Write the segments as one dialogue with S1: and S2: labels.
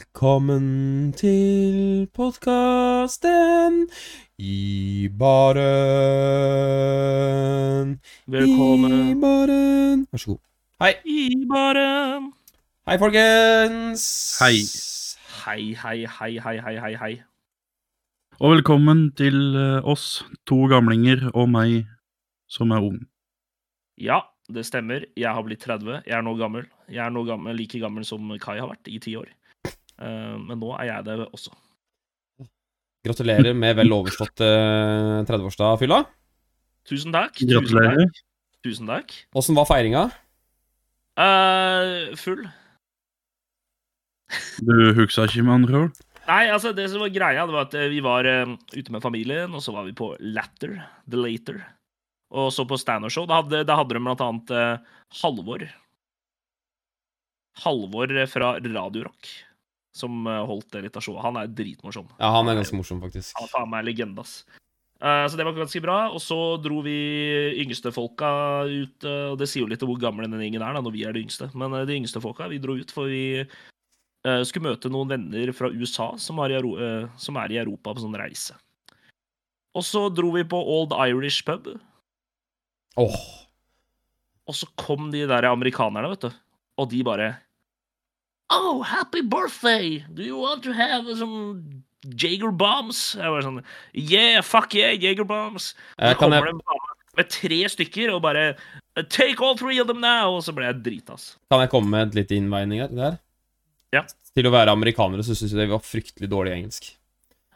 S1: Velkommen til podkasten i baren. I
S2: Velkommen
S1: baren. Vær så god.
S2: i baren.
S1: Hei, folkens.
S3: Hei.
S2: Hei, hei, hei, hei, hei, hei, hei.
S3: Og velkommen til eh, oss, to gamlinger og meg som er ung.
S2: Ja, det stemmer. Jeg har blitt 30. Jeg er nå gammel. Jeg er nå gammel, like gammel som Kai har vært i ti år. Eh, men nå er jeg det også.
S1: Gratulerer med vel overstått eh, 30-årsdag, Fylla.
S2: Tusen takk. tusen
S3: Gratulerer.
S2: takk, Tusen takk.
S1: Åssen var feiringa?
S2: Eh, full.
S3: Du huksa ikke med andre ord?
S2: Nei, altså, det som var greia, det var at eh, vi var eh, ute med familien, og så var vi på Latter, The Later, og så på standup-show. Da, hadde- da hadde de blant annet eh, Halvor. Halvor eh, fra Radiorock, som eh, holdt det litt av showet. Han er dritmorsom.
S1: Ja, han er ganske morsom, faktisk.
S2: Han er faen meg legende, ass. Eh, så det var ganske bra. Og så dro vi yngste folka ut. eh, og det sier jo litt om hvor gammel den gjengen er da, når vi er de yngste. Men eh, de yngste folka, vi dro ut, for vi eh, skulle møte noen venner fra USA som er, i, Euro eh, som er i Europa på sånn reise. Og så dro vi på Old Irish pub,
S1: Åh,
S2: og så kom de der amerikanerne, vet du. Og de bare Oh, happy birthday! Do you want to have some Jager bombs? Jeg var sånn Yeah, fuck yeah, Jager bombs!
S1: eh,
S2: Så
S1: kan
S2: kommer
S1: jeg,
S2: det en dame med tre stykker og bare Take all three of them now! Og så ble jeg drita, ass.
S1: kan jeg komme med et lite innveining her? der?
S2: Ja.
S1: Til å være amerikanere så syns jeg vi var fryktelig dårlig i engelsk.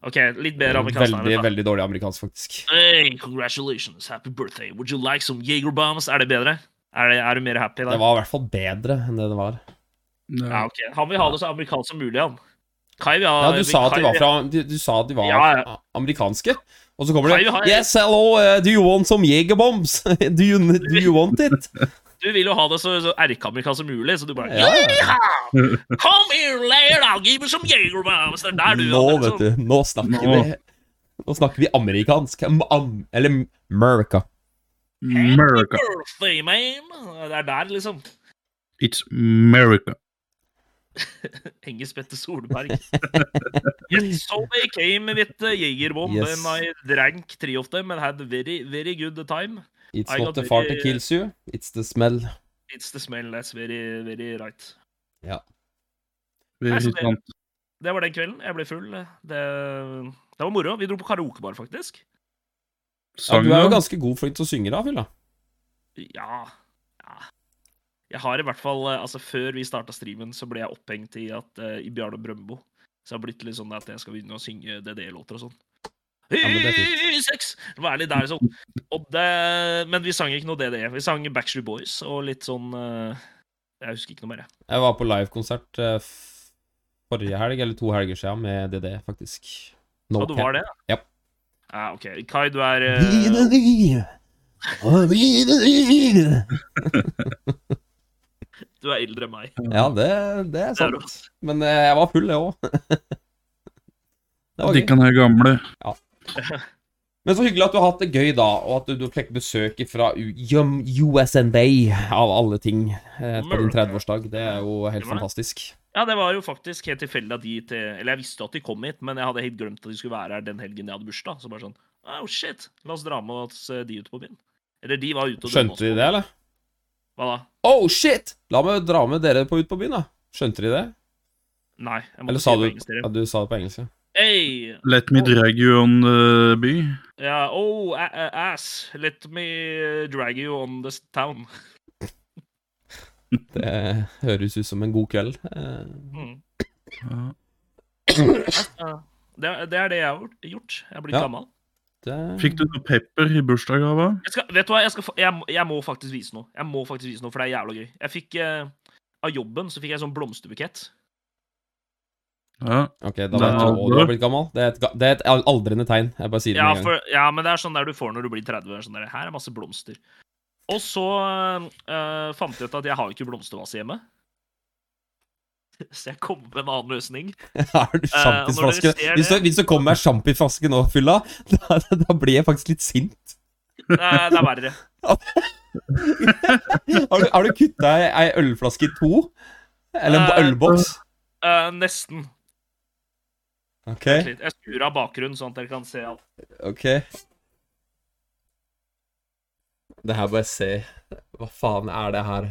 S2: OK, litt bedre amerikansk.
S1: Veldig, veldig dårlig amerikansk, faktisk.
S2: Hey, congratulations, happy birthday. Would you like some Jager bombs? Er det bedre? Er, det, er du mer happy da?
S1: Det var i hvert fall bedre enn det det var.
S2: Ja, ok. Han vil ha det så amerikansk som mulig, han. Kai vil ha
S1: Ja, du sa at de var fra Du, du sa at de var
S2: Ja, ja.
S1: amerikanske, og så kommer
S2: Hei,
S1: det
S2: hei.
S1: Yes, hello, uh, do you want some jegerbombs? do, you, do you want it?
S2: Du vil jo ha det så, så erkeamerikansk som mulig, så du bare
S1: Ja.
S2: «Yeehaw! Come here, lad, I'll give you some Jager bombs! Det er der du liksom- sånn?
S1: Nå, vet du. Nå snakker
S3: Nå.
S1: vi Nå snakker vi amerikansk. Am, am, eller America.
S3: America.
S2: Birthday, man! Det er der, liksom.
S3: It's America.
S2: Engesbette Solberg. yes, so they came with uh, Jegerbomb
S1: Yes.
S2: and I drank three of them and had very, very good time.
S1: It's
S2: I
S1: not
S2: got
S1: the fart that
S2: very-
S1: kills you, it's the smell.
S2: It's the smell that's very, very right.
S3: Det er
S2: Nei, så
S3: helt
S2: det-
S3: sant.
S2: Det var den kvelden. Jeg ble full. Det, det var moro. Vi dro på karaokebar, faktisk.
S1: Ja,
S3: Sang,
S1: du er jo
S3: da?
S1: ganske god flink til å synge, da, Fylla.
S2: Ja. ja. Jeg har i hvert fall eh, Altså, før vi starta streamen, så ble jeg opphengt i, at, eh, i Bjarne Brøndbo. Så jeg har blitt litt sånn at jeg skal begynne å synge DDE-låter og sånn.
S1: men det er
S2: Sex! Være litt der, sånn. Og det, men vi sang ikke noe DDE. Vi sang Backstreet Boys og litt sånn eh, Jeg husker ikke noe mer, jeg.
S1: Jeg var på livekonsert eh, f- forrige helg, eller to helger siden, med DD, faktisk. No
S2: Og du var det?
S1: Ja.
S2: Ja, OK. Kai, du er eh, Du er eldre enn meg.
S1: Ja, det, det er
S2: Det er
S1: sant.
S2: du, ass.
S1: Men eh, jeg var full, jeg òg. Det var gøy.
S3: Dikkan er gamle.
S1: Men så hyggelig at du har hatt det gøy, da, og at du, du fikk besøk fra USNBA, av alle ting, eh, på din 30-årsdag. Det er jo helt fantastisk.
S2: Ja, det var jo faktisk helt tilfeldig at de til Eller jeg visste at de kom hit, men jeg hadde helt glemt at de skulle være her den helgen jeg hadde bursdag. Så bare sånn Oh shit, la oss dra med oss eh, de ut på byen. Eller de var sånn. ute og
S1: Skjønte de det, eller?
S2: Hva da?
S1: Oh shit! La meg dra med dere på ut på byen, da. Skjønte de det?
S2: Nei. Jeg
S1: Eller
S2: måtte
S1: sa du
S2: si det på engelsk.
S1: Ja,
S2: dere.
S1: du sa det på engelsk, ja.
S2: Hey,
S3: Let me drag you on the by.
S2: ja, oh, a a ass, let me drag you on this town.
S1: Det høres ut som en god kveld. Eh,
S2: Mm.
S3: Ja.
S2: Ja, Det, er- det er det jeg har gjort- gjort. Jeg blir
S1: Ja.
S2: gammel.
S1: Det...
S3: Fikk du noe pepper i bursdagsgave?
S2: Jeg skal, vet du hva, jeg, skal, fa- jeg, må- jeg må faktisk vise noe. Jeg må faktisk vise noe, For det er jævla gøy. Jeg fikk eh, Av jobben så fikk jeg sånn blomsterbukett.
S3: Ja.
S1: Ok, da
S3: Nei,
S1: vet du hva du
S3: aldri.
S1: har blitt gammel. Det er et, ga- det er et al- aldrende tegn. Jeg bare sier det
S2: Ja,
S1: med en gang.
S2: for, ja, men det er sånn der du får når du blir 30. år, Sånn der, her er masse blomster. Og så eh, fant jeg ut at jeg har jo ikke blomstervase hjemme. Så jeg kom med en annen løsning.
S1: Er du sjampisflaske?
S2: når dere eh, ser
S1: Hvis, du-
S2: det-
S1: hvis du kommer med ei sjampisflaske nå, fylla, da, da blir jeg faktisk litt sint.
S2: Det er, det er verre.
S1: Har du, har du kutta ei ei ølflaske i to? Eller en
S2: Eh,
S1: ølboks?
S2: Eh, nesten.
S1: OK.
S2: Litt. Jeg skrur av bakgrunnen, sånn at dere kan se alt.
S1: ok. Det her må jeg se. Hva faen er det her?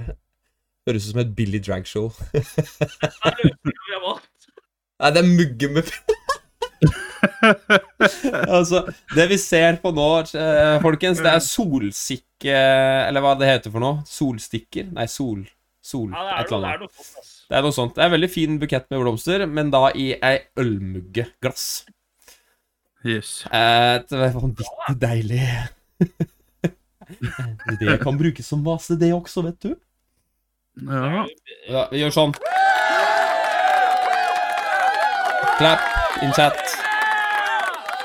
S1: Høres ut som et billig dragshow.
S2: Nei, løpene vi har valgt.
S1: Nei, det er mugge med Altså, det vi ser på nå, eh, folkens, det er solsikke Eller hva det heter for noe? Solstikker? Nei, sol... Sol...
S2: Ja, det
S1: et
S2: er
S1: eller
S2: noe, det
S1: annet.
S2: er noe sånt, ass.
S1: Det er noe sånt. Det er en veldig fin bukett med blomster, men da i ei ølmugge glass.
S3: Yes.
S1: Eh, det er vanvittig deilig. det kan brukes som vase, det også, vet du.
S3: Ja.
S1: Ja, vi gjør sånn. Clap in chat.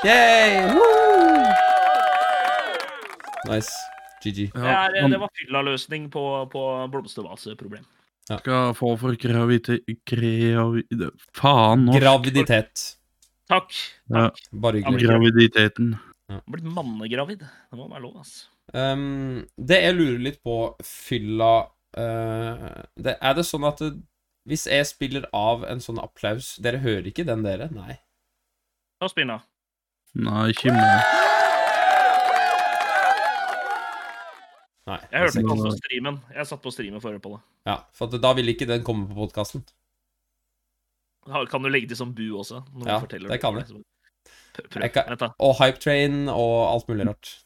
S1: Yay! Woo! Nice. GG.
S2: Det,
S3: ja.
S2: er, eh, det var fyllaløsning på, på blomstervaseproblem.
S3: Skal få for kreavite... Kreavide... Faen, nå.
S1: Graviditet.
S2: Takk.
S3: Ja.
S2: Takk.
S1: Bare hyggelig.
S3: Graviditeten.
S2: Jeg er Blitt mannegravid. Det må være lov, ass.
S1: Um, det jeg lurer litt på, fylla eh, det, Er det sånn at det, hvis jeg spiller av en sånn applaus Dere hører ikke den, dere? Nei.
S2: Ta spinn av.
S3: Nei, ikke meg.
S1: Nei
S2: Jeg
S1: altså
S2: hørte det
S1: ikke.
S2: også på streamen. Jeg satt på streamen for å høre på det.
S1: Ja, for at da vil ikke den komme på podkasten.
S2: Ha- Kan du legge til som bu også? når du
S1: Ja,
S2: forteller
S1: det kan jeg.
S2: Prøv. prøv.
S1: Jeg kan-
S2: Vent da.
S1: Og Hype Train og alt mulig rart.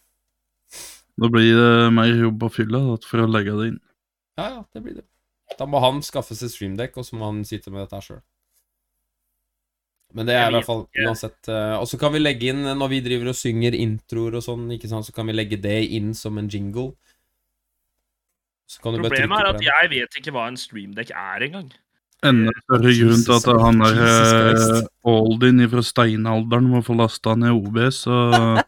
S3: Da blir det mer jobb på fylla da, for å legge det inn.
S1: Ja, ja, det blir det. Da må han skaffe seg streamdekk, og så må han sitte med dette her sjøl. Men det er i
S2: Jeg
S1: hvert fall
S2: vet ikke.
S1: uansett eh, Og så kan vi legge inn, eh, når vi driver og synger introer og sånn, ikke sant, så kan vi legge det inn som en jingle. Så kan du bare
S2: Problemet
S1: trykke
S2: er
S1: på
S2: at
S1: den.
S2: jeg vet ikke hva en streamdekk er engang.
S3: Enda større grunn til at
S1: Jesus
S3: han er
S1: Jesus Christ.
S3: eh, Aldin fra steinalderen må få lasta ned OBS og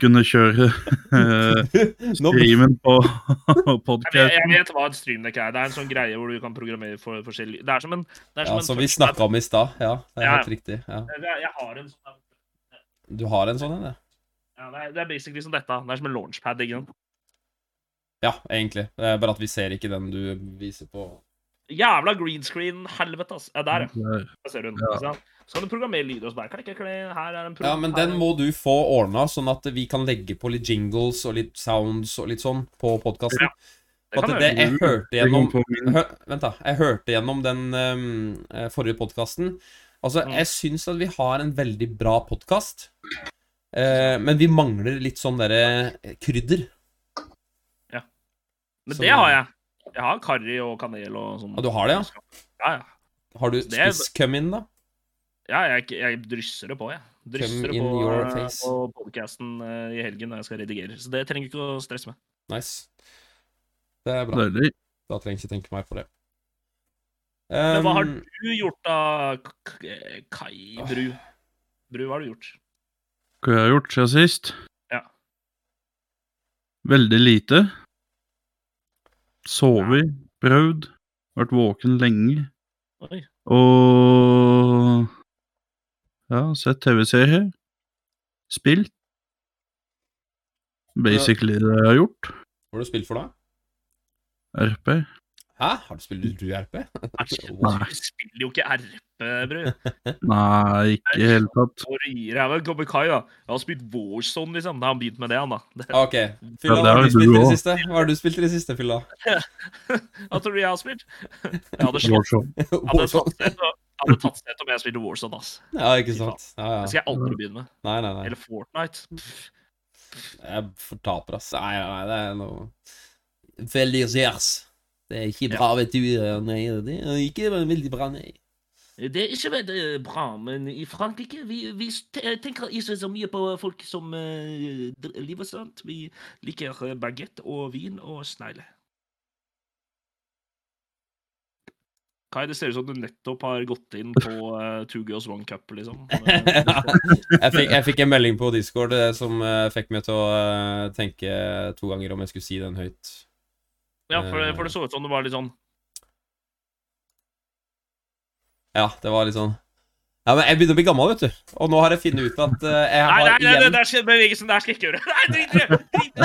S3: kunne kjøre eh,
S1: Nå,
S3: streamen på
S2: Jeg vet,
S3: podkast.
S2: jeg vet hva en streamdekk er. Det er en sånn greie hvor du kan programmere for forskjellig Det er som en det er
S1: ja,
S2: som en
S1: som vi
S2: touchpad.
S1: snakka om i stad. Ja, det er
S2: Ja.
S1: helt riktig. Ja.
S2: Jeg, jeg har en sånn
S1: Du har en sånn en, ja?
S2: ja, det, er, det er basically som dette. Det er som en launchpad. ikke sant?
S1: Ja, egentlig. Det er bare at vi ser ikke den du viser på.
S2: Jævla green screen, helvete, ass. Ja, der, ja.
S3: Der.
S2: Der ser du den. ikke sant? Så kan du programmere lyd og sånn. Klikk, klikk, klikk. Her er en pro-
S1: Ja, men den må du få ordna, sånn at vi kan legge på litt jingles og litt sounds og litt sånn på podkasten.
S2: Ja, Det
S1: at
S2: kan
S1: det
S2: jeg gjøre.
S3: Mm.
S1: jeg hørte gjennom
S3: Jeg kan få min.
S1: Hø, Vent, da. Jeg hørte gjennom den ehm, eh, forrige podkasten. Altså,
S2: Mm.
S1: jeg syns at vi har en veldig bra podkast, eh, men vi mangler litt sånn derre krydder.
S2: Men
S1: Så-
S2: det har jeg. Jeg har karri og kanel og sånn.
S1: Ja, du har det, ja?
S2: Ja, ja.
S1: Har du
S2: Det er-
S1: spiss cum in, da?
S2: ja jeg, jeg drysser det på, jeg.
S1: Come
S2: Drysser det
S1: in
S2: på,
S1: your face.
S2: på podkasten i helgen når jeg skal redigere. Så det trenger du ikke å stresse med.
S1: Nice. Det er bra.
S3: Deilig.
S1: Da trenger jeg ikke tenke mer på det.
S2: Men hva har
S1: Ehm,
S2: du gjort av Kai Bru? Bru, hva har du gjort?
S3: Hva jeg har gjort siden sist?
S2: Ja.
S3: Veldig lite. Sovet, prøvd, vært våken lenge
S2: Oi.
S3: og ja, sett TV-serier. Spilt. Basically det jeg har gjort.
S1: Hva har du spilt for, da?
S3: RP.
S1: Hæ? Har du spilt RP?
S2: Æsj,
S1: Wow.
S2: Du spiller jo ikke RP, Bru.
S3: Nei, ikke i det hele tatt.
S2: Hvor gir jeg vel kommer Kai, da? Jeg har spilt Warzone, liksom. Da har han begynt med det, han, da. Det,
S1: OK. Fylla,
S3: Ja,
S1: hva
S3: det har
S1: har du
S3: jo du
S1: spilt i det
S3: også.
S1: siste? Hva har du spilt i det siste, Fylla?
S2: hva tror du jeg har spilt? Jeg hadde slått
S3: Warzone.
S2: jeg hadde tatt sett om- jeg hadde tatt sett om jeg spilte Warzone, ass.
S1: Ja, ikke sant. Ja,
S2: Det
S1: ja.
S2: skal jeg aldri begynne med.
S1: Nei, nei, nei.
S2: Eller Fortnite. Pff,
S1: Jeg fortaper, ass. Nei, nei, nei, det er noe Veldig særs. Det er ikke bra, vet du. Nei, det er ikke veldig bra, nei.
S2: Det er ikke veldig eh, bra, men i Frankrike vi, vi te- tenker ikke så mye på folk som eh, dr- lever sånt. Vi liker eh, baguette og vin og snegle. Kai, det ser ut som du nettopp har gått inn på eh, Two Girls One Cup, liksom.
S1: Jeg fikk, jeg fikk en melding på Discord eh, som eh, fikk meg til å eh, tenke to ganger om jeg skulle si den høyt.
S2: Ja, for, for det så ut som det var litt sånn
S1: Ja, det var litt sånn Ja, men jeg begynner å bli gammel, vet du. Og nå har jeg funnet ut at eh, jeg
S2: Nei,
S1: har
S2: nei, nei,
S1: igjen
S2: den der skal- bevegelsen der skal jeg ikke gjøre! Nei, drit i det! Drit i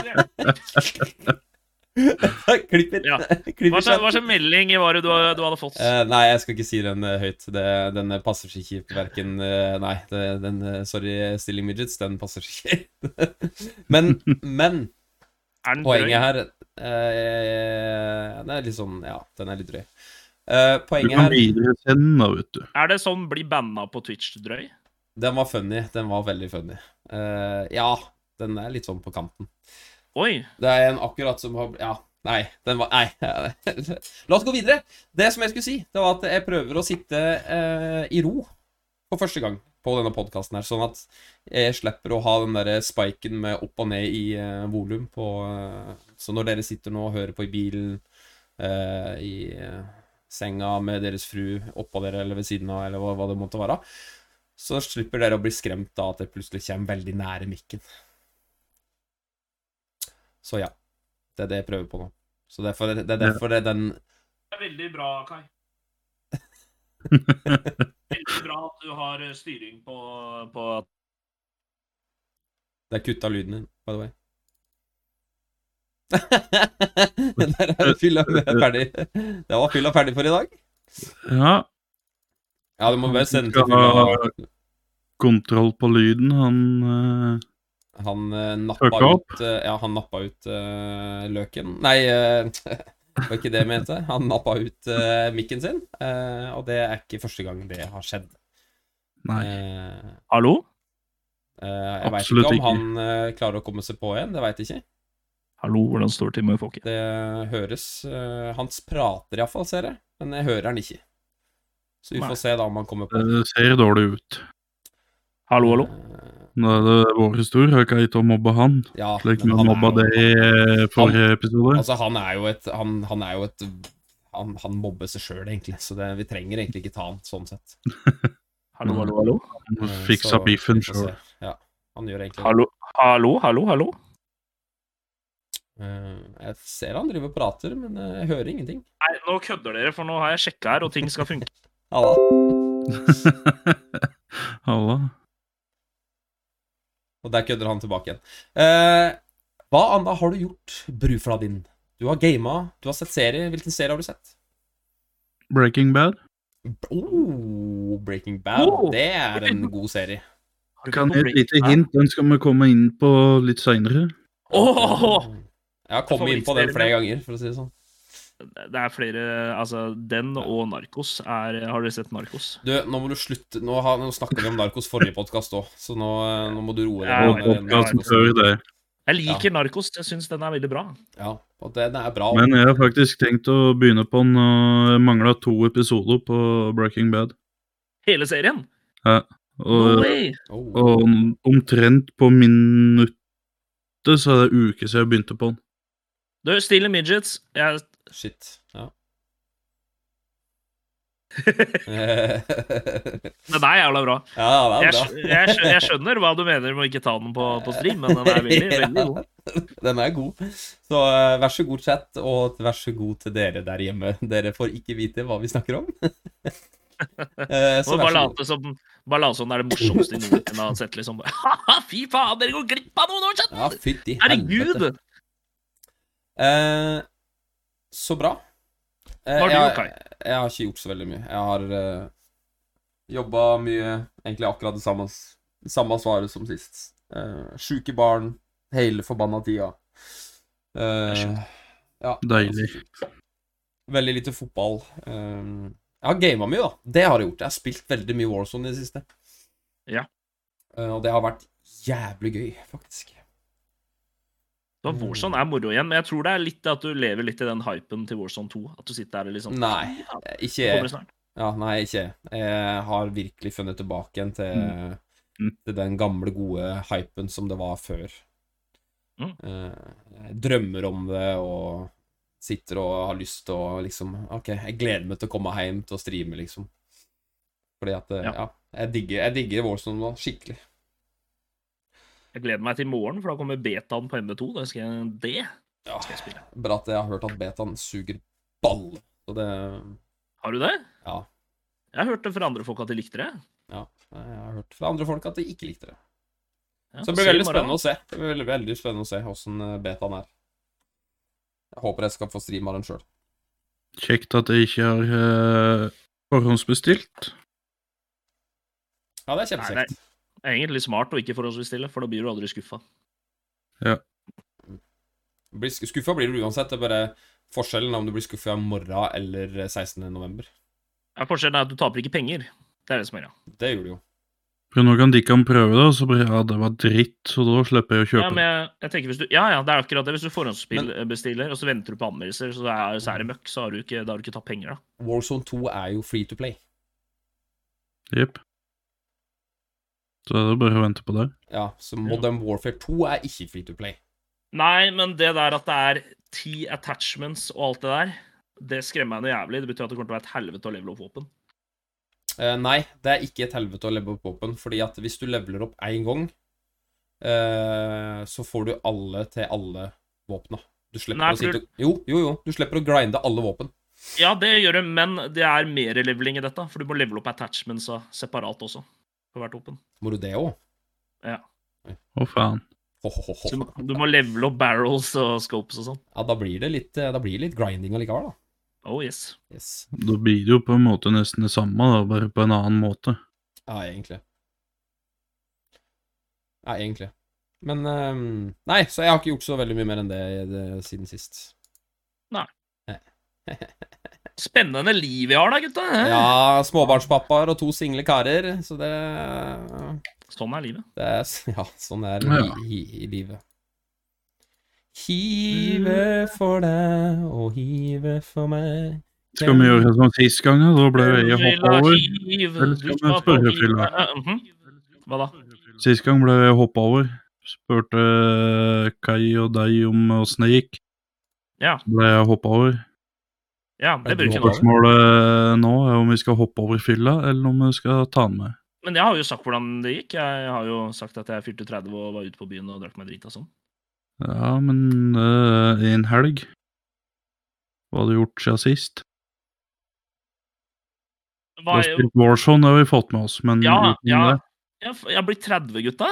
S2: det!
S1: Klipper.
S2: Ja.
S1: Klipper
S2: Hva slags,
S1: chat.
S2: hva slags melding var det du, du hadde fått?
S1: Eh, nei, jeg skal ikke si den eh, høyt. Det, den eh, passer ikke kjipt verken eh, Nei, det, den eh, Sorry, Stilling Midgets, den passer ikke kjipt. men, men
S2: Er den drøy?
S1: poenget her eh, Den er litt sånn Ja, den er litt drøy. Eh,
S3: Du
S1: poenget
S3: kan
S1: her
S3: videresende, da, vet du.
S2: Er det sånn bli banna på Twitch-drøy?
S1: Den var funny. Den var veldig funny. Eh, ja, den er litt sånn på kanten.
S2: Oi.
S1: Det er en akkurat som har Ja. Nei, den var Nei. La oss gå videre. Det som jeg skulle si, det var at jeg prøver å sitte eh, i ro for første gang på denne podkasten her, sånn at jeg slipper å ha den derre spiken med opp og ned i eh, volum på eh, Så når dere sitter nå og hører på i bilen, eh, i eh, senga med deres fru oppå dere eller ved siden av, eller hva, hva det måtte være, så slipper dere å bli skremt av at jeg plutselig kommer veldig nære mikken. Så ja. Det er det jeg prøver på nå. Så derfor, det er derfor det er den
S2: Det er veldig bra, Kai. veldig bra at du har eh, styring på, på
S1: Det er kutta lyden din, by the way. Der er fylla ferdig. Det var fylla ferdig for i dag.
S3: Ja,
S1: Ja, du må bare sende til
S3: Skal ha-
S1: fylla.
S3: kontroll på lyden, han eh,
S1: Han eh, nappa
S3: Fucka opp.
S1: ut eh, Ja, han nappa ut eh, løken Nei, eh, det var ikke det jeg mente. Han nappa ut eh, mikken sin, eh, og det er ikke første gang det har skjedd.
S3: Nei.
S1: Eh,
S2: Hallo?
S1: eh, jeg veit
S3: Absolutt
S1: ikke om
S3: ikke.
S1: han eh, klarer å komme seg på igjen, det veit jeg ikke.
S2: Hallo, hvordan står det til med folket?
S1: Det høres eh, Hans prater iallfall, ser jeg, men jeg hører han ikke. Så vi
S2: Nei.
S1: får se da om han kommer på.
S3: Det ser dårlig ut.
S2: Hallo, hallo?
S1: Eh,
S3: Da er det vår tur. Har ikke gitt å mobbe han,
S1: Ja,
S3: slik
S1: men
S3: vi
S1: han,
S3: mobba det i eh, forrige episode.
S1: altså, han er jo et Han, han er jo et han, han mobber seg sjøl, egentlig, så det, vi trenger egentlig ikke ta han sånn sett.
S2: Hallo, hallo, hallo?
S3: Må
S1: Eh,
S3: fiksa
S1: så
S3: beefen
S1: vi får se.
S3: sjøl.
S1: Ja, han gjør egentlig det.
S2: Hallo, hallo, hallo? hallo?
S1: Eh, Jeg ser han driver og prater, men eh, jeg hører ingenting.
S2: Nei, nå kødder dere, for nå har jeg sjekka her, og ting skal funke.
S1: Halla.
S3: Halla.
S1: Og der kødder han tilbake igjen. Eh, hva annet har du gjort, brufla din? Du har gama, du har sett serie. Hvilken serie har du sett?
S3: Breaking Bad.
S1: Oh, Breaking Bad.
S2: Oh.
S1: Det er en god serie.
S3: Kan jeg et lite hint? Den skal vi komme inn på litt seinere.
S2: Åh!
S1: Jeg har kommet inn på den flere ganger, for å si det sånn.
S2: Det er flere Altså, den og Narkos er Har dere sett Narkos?
S1: Du, nå må du slutte. Nå, har, nå snakka vi om Narkos forrige podkast òg, så nå, eh, nå må du roe
S2: Ja,
S1: deg
S3: Og
S1: ned. med den
S3: podcasten før
S1: Narcos.
S3: det.
S2: Jeg liker Narkos. Jeg syns den er veldig bra.
S1: Ja, og den er bra.
S3: Men jeg har faktisk tenkt å begynne på den, og jeg mangla to episoder på Breaking Bad.
S2: Hele serien. No
S3: Og,
S2: way!
S1: Oh.
S3: og omtrent på minuttet så er det en uke siden jeg begynte på den.
S2: Du, Stille Midgets. Jeg,
S1: Shit. Ja.
S2: den er jævla bra.
S1: ja, det er
S2: Jeg,
S1: bra.
S2: skj- jeg, skj- jeg skjønner hva du mener med å ikke ta den på, på stream, men den er veldig, veldig god.
S1: Den er god. Så eh, vær så god, chat, og vær så god til dere der hjemme. Dere får ikke vite hva vi snakker om. Eh,
S2: Og bare late som bare late som det er det morsomste noen kunne ha sett. liksom. Haha, Fy faen, dere går glipp av noen år
S1: Ja,
S2: siden!
S1: fytti
S2: Herregud!
S1: Eh, så bra. Eh,
S2: Hva har du
S1: jeg-
S2: gjort, Kai?
S1: Jeg har ikke gjort så veldig mye. Jeg har uh, jobba mye, egentlig akkurat det samme, samme svaret som sist. Uh, Sjuke barn, hele forbanna tida. Eh,
S2: Det er
S1: ja,
S3: Deilig.
S1: Veldig lite fotball. Eh, jeg har gama mye, da. Det har jeg gjort. Jeg har spilt veldig mye Warzone i det siste.
S2: Ja.
S1: Eh, og det har vært jævlig gøy, faktisk.
S2: Da, Warzone er moro igjen, men jeg tror det er litt at du lever litt i den hypen til Warzone 2. At du sitter der og liksom
S1: Nei,
S2: Ja,
S1: Eh,
S2: det
S1: Ikke
S2: kommer snart.
S1: Ja, nei, ikke jeg. Jeg har virkelig funnet tilbake igjen til,
S3: Mm.
S1: til den gamle, gode hypen som det var før.
S2: Mm.
S1: Eh, Jeg drømmer om det og sitter og har lyst til å liksom OK, jeg gleder meg til å komme hjem til å streame, liksom. Fordi at eh,
S2: Ja.
S1: Ja. jeg digger, jeg digger Warzone nå, skikkelig.
S2: Jeg gleder meg til i morgen, for da kommer betaen på MB2. Da skal jeg, det
S1: Ja,
S2: skal jeg spille.
S1: Bare at jeg har hørt at betaen suger ball. Så det
S2: Har du det?
S1: Ja.
S2: Jeg hørte fra andre folk at de likte det.
S1: eh, Jeg har hørt fra andre folk at de ikke likte det.
S2: Ja,
S1: Så det blir veldig
S2: se i morgen.
S1: spennende å se. Det blir veldig, veldig spennende å se åssen betaen er. eh, Jeg håper jeg skal få streama den sjøl.
S3: Kjekt at jeg ikke har eh, forhåndsbestilt.
S1: Ja, det er
S2: Nei, det
S1: kjempekjekt.
S2: er egentlig smart å ikke forholdsbestille, for da blir du aldri skuffa.
S1: Blir sk- Skuffa blir du uansett. Det er bare forskjellen om du blir skuffa i morgen eller 16. november.
S2: Ja, forskjellen er at du taper ikke penger. Det er det som er, ja.
S1: Det gjorde du jo.
S3: For nå kan de kan prøve det, og så bare ja, det var dritt, så da slipper jeg å
S2: Ja,
S3: kjøpe.
S2: men jeg, jeg tenker hvis du, ja, ja, det er akkurat det. Hvis du forhåndsbestiller, og så venter du på anmeldelser, så er, så er det møkk, så har du ikke, da har du ikke tatt penger, da.
S1: Warzone 2 er jo free to play.
S3: Jepp. Så er det bare å vente på det.
S1: Ja, så Modern Warfare 2 er ikke free to play.
S2: Nei, men det der at det er ti attachments og alt det der, det skremmer meg noe jævlig. Det betyr at det kommer til å være et helvete å levele opp våpen.
S1: Eh, nei, det er ikke et helvete å levele opp våpen, fordi at hvis du leveler opp én gang, eh, så får du alle til alle våpna. Du slipper
S2: Nei,
S1: å sitte Jo, jo, jo. Du slipper å grinde alle våpen.
S2: Ja, det gjør det, men det er mer leveling i dette, for du må levele opp attachmentsa separat også. For hvert våpen.
S1: Må du det òg?
S3: Å, faen.
S2: Så Du, må- du må levele opp barrels og scopes og sånn.
S1: Ja, da blir det litt, eh, da blir det litt grinding allikevel, da.
S2: Oh yes.
S1: Yes.
S3: Da blir det jo på en måte nesten det samme, da, bare på en annen måte.
S1: Ja, egentlig. Ja, egentlig. Men ehm, Nei, så jeg har ikke gjort så veldig mye mer enn det, det siden sist.
S2: Spennende liv vi har da, gutta.
S1: Ah. Ja, småbarnspappaer og to single karer, så det,
S2: Sånn er livet.
S1: det er, Ja, sånn er
S3: Ja.
S1: i, i, i livet. Hive for deg og hive for meg.
S3: Skal vi gjøre det som sist gang, da? Da ble jeg
S2: Vil
S3: hoppa
S2: ha
S3: over.
S2: hiv,
S3: Eller
S2: du
S3: skal
S2: skal
S3: vi
S2: få
S3: spørre
S2: hiv.
S3: Fylla?
S2: Eh, mhm. Hva da?
S3: Sist gang ble jeg hoppa over. Spurte eh, Kai og deg om åssen det gikk.
S2: Ja.
S3: Så ble jeg hoppa over.
S2: Ja, det bør du ikke nå.
S3: Spørsmålet eh, nå er om vi skal hoppe over fylla, eller om vi skal ta den med.
S2: Men jeg har jo sagt hvordan det gikk. Jeg har jo sagt at jeg fylte 30 og var ute på byen og drakk meg drit og sånn.
S3: Ja, men øh, en helg Hva har du gjort siden sist? Du
S2: Hva
S3: har
S2: er-
S3: spilt Warzone, det har vi fått med oss, men
S2: Ja,
S3: utenom
S2: ja.
S3: det-
S2: Jeg f- jeg blir 30, gutta.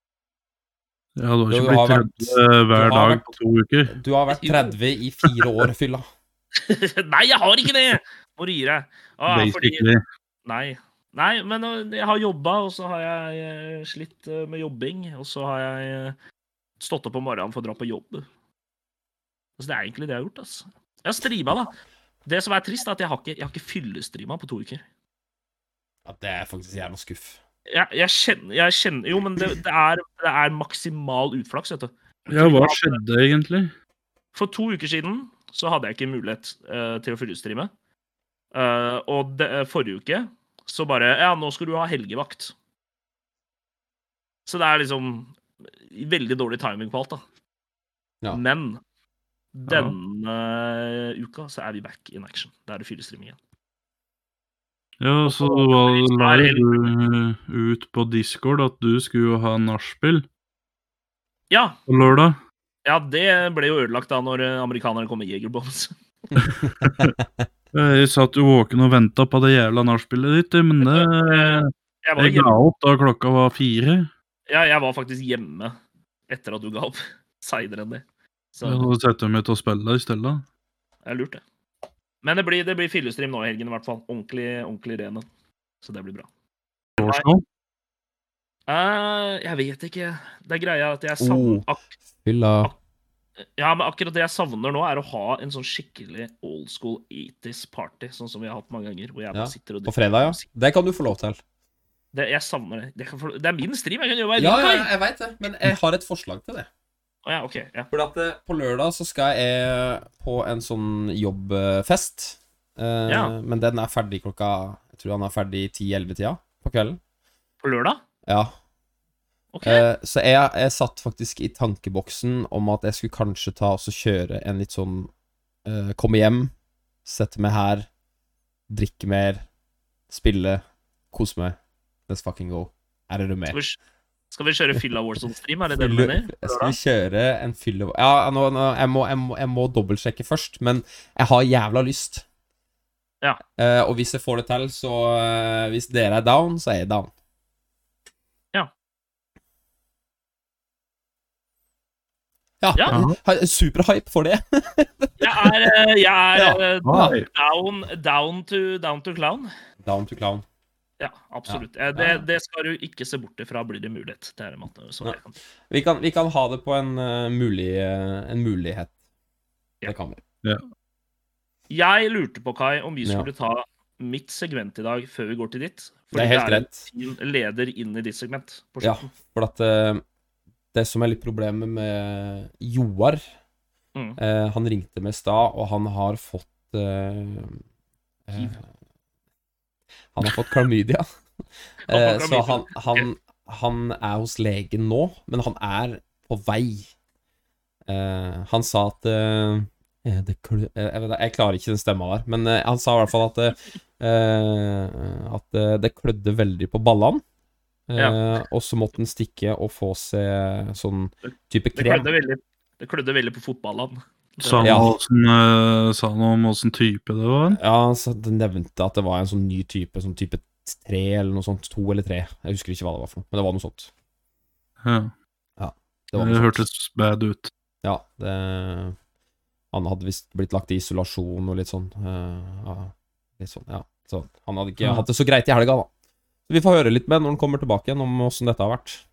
S3: ja,
S1: Du
S3: du har ikke
S1: har
S3: blitt
S1: vært-
S3: tredd øh,
S1: har
S3: hver dag
S1: vært-
S3: på to uker.
S1: Du har vært 30 i fire år, fylla.
S2: Nei, jeg har ikke det! Må du gi deg. Ah, fordi
S3: Basically.
S2: Nei. Nei, men øh, jeg har jobba, og så har jeg øh, slitt øh, med jobbing. Og så har jeg øh, stått opp om morgenen for å dra på jobb. Altså, det er egentlig det jeg har gjort. Altså. Jeg har streama, da. Det som er trist, er at jeg har ikke, jeg har ikke fyllestreama på to uker.
S1: Ja, det er faktisk jævla skuff.
S2: Jeg, jeg, kjenner, jeg kjenner Jo, men det, det, er, det er maksimal utflaks, vet du.
S3: Ja, hva skjedde egentlig?
S2: For to uker siden så hadde jeg ikke mulighet eh, til å fyllestreame. Eh, og det, eh, forrige uke så bare Ja, nå skal du ha helgevakt. Så det er liksom veldig dårlig timing på alt, da.
S1: Ja.
S2: Men denne eh, uka så er vi back in action. Da er det fyllestreaming igjen.
S3: Ja, så hva- la du ut på Discord at du skulle ha nachspiel
S2: Ja,
S3: på lørdag.
S2: ja, det ble jo ødelagt da når eh, amerikanerne kom med Jegerbombs.
S3: Jeg satt jo våken og venta på det jævla nachspielet ditt, men det
S2: Jeg var,
S3: Jeg ga
S2: hjemme,
S3: opp da klokka var fire.
S2: ja, jeg var faktisk hjemme etter at du ga opp. Seinere enn det. Så
S3: Så setter jeg meg til å spille i stedet.
S2: Det er lurt, det. Men det blir, det blir fyllestream nå i helgen, i hvert fall. Ordentlig, ordentlig ren. en. Så det blir bra.
S3: Warzone.
S2: Eh, jeg vet ikke. Det er greia at jeg savner
S1: Oh.
S2: ak
S1: Fylla.
S2: Ja, men akkurat det jeg savner nå, er å ha en sånn skikkelig old school 80s party, sånn som vi har hatt mange ganger. Hvor jeg
S1: Ja,
S2: bare sitter og
S1: På fredag, ja.
S2: musikk.
S1: Det kan du få lov til.
S2: Det, jeg savner det. Det, kan, få- det er min stream, jeg kan gjøre hva jeg
S1: Ja,
S2: vil.
S1: ja,
S2: Ja,
S1: jeg veit det, men jeg har et forslag til det.
S2: ja, ok, ja.
S1: Fordi at eh, på lørdag så skal jeg på en sånn jobbfest. Eh,
S2: Ja.
S1: Men den er ferdig klokka Jeg tror han er ferdig i 10-11-tida på kvelden.
S2: På lørdag?
S1: Ja.
S2: Ok.
S1: Eh, så jeg, jeg satt faktisk i tankeboksen om at jeg skulle kanskje ta og så kjøre en litt sånn eh, Komme hjem, sette meg her, drikke mer, spille, kose meg. Let's fucking go. Her er du med?
S2: Skal vi, skal vi kjøre Fylla Warzone-stream, er det det du
S1: Fylle-
S2: mener? På
S1: Skal vi
S2: lørdag?
S1: kjøre en fylle... Ja, nå, nå, jeg, må, jeg, må, jeg må dobbeltsjekke først, men jeg har jævla lyst.
S2: Ja.
S1: Eh, og hvis jeg får det til, så eh, Hvis dere er down, så er jeg down. Ja.
S2: Ja.
S1: Ha- Superhype for det.
S2: Jeg er, eh, jeg er eh,
S3: Ah,
S2: down, down, to, down to clown.
S1: Down to clown.
S2: Ja, absolutt. Eh, Det, det skal du ikke se bort ifra blir det mulighet til. Herre Matte, så jeg kan-
S1: Vi kan, vi kan ha det på en, eh, mulig, eh, en mulighet.
S2: Ja.
S1: Det kan vi.
S2: Jeg lurte på, Kai, om vi
S1: Ja.
S2: skulle ta mitt segment i dag før vi går til ditt.
S1: Det er helt greit.
S2: en fin leder inn i ditt segment. på
S1: Ja,
S2: slutten.
S1: for at eh, Det som er litt problemet med Joar
S2: Mm.
S1: eh, Han ringte meg i stad, og han har fått eh, eh,
S2: Hiv.
S1: Han har fått klamydia.
S2: Han har
S1: Eh,
S2: fått
S1: så
S2: klamydia.
S1: han, han, han er hos legen nå, men han er på vei. Eh, han sa at eh, eh, det klø, eh, jeg, vet, da- jeg klarer ikke den stemma der, men eh, han sa i hvert fall at, eh, eh, at eh, det klødde veldig på ballene. Eh, Og så måtte han stikke og få seg sånn type
S2: Det
S1: krem. Sånn.
S2: klødde veldig, det klødde veldig på fotballen.
S3: Sa han
S1: Ja.
S3: åssen, eh, sa han om åssen type det var?
S1: Ja, så det nevnte at det var en sånn ny type, sånn type tre eller noe sånt. To eller tre. Jeg husker ikke hva det var for noe, men det var noe sånt.
S3: Ja.
S1: Det, var
S3: det
S1: noe sånt.
S3: hørtes bad ut.
S1: Ja, det Han hadde visst blitt lagt i isolasjon og litt sånn. eh, ja, litt sånn, ja. Så han hadde ikke
S3: Ja.
S1: hatt det så greit i helga, da. Så vi får høre litt med når han kommer tilbake igjen, om åssen dette har vært.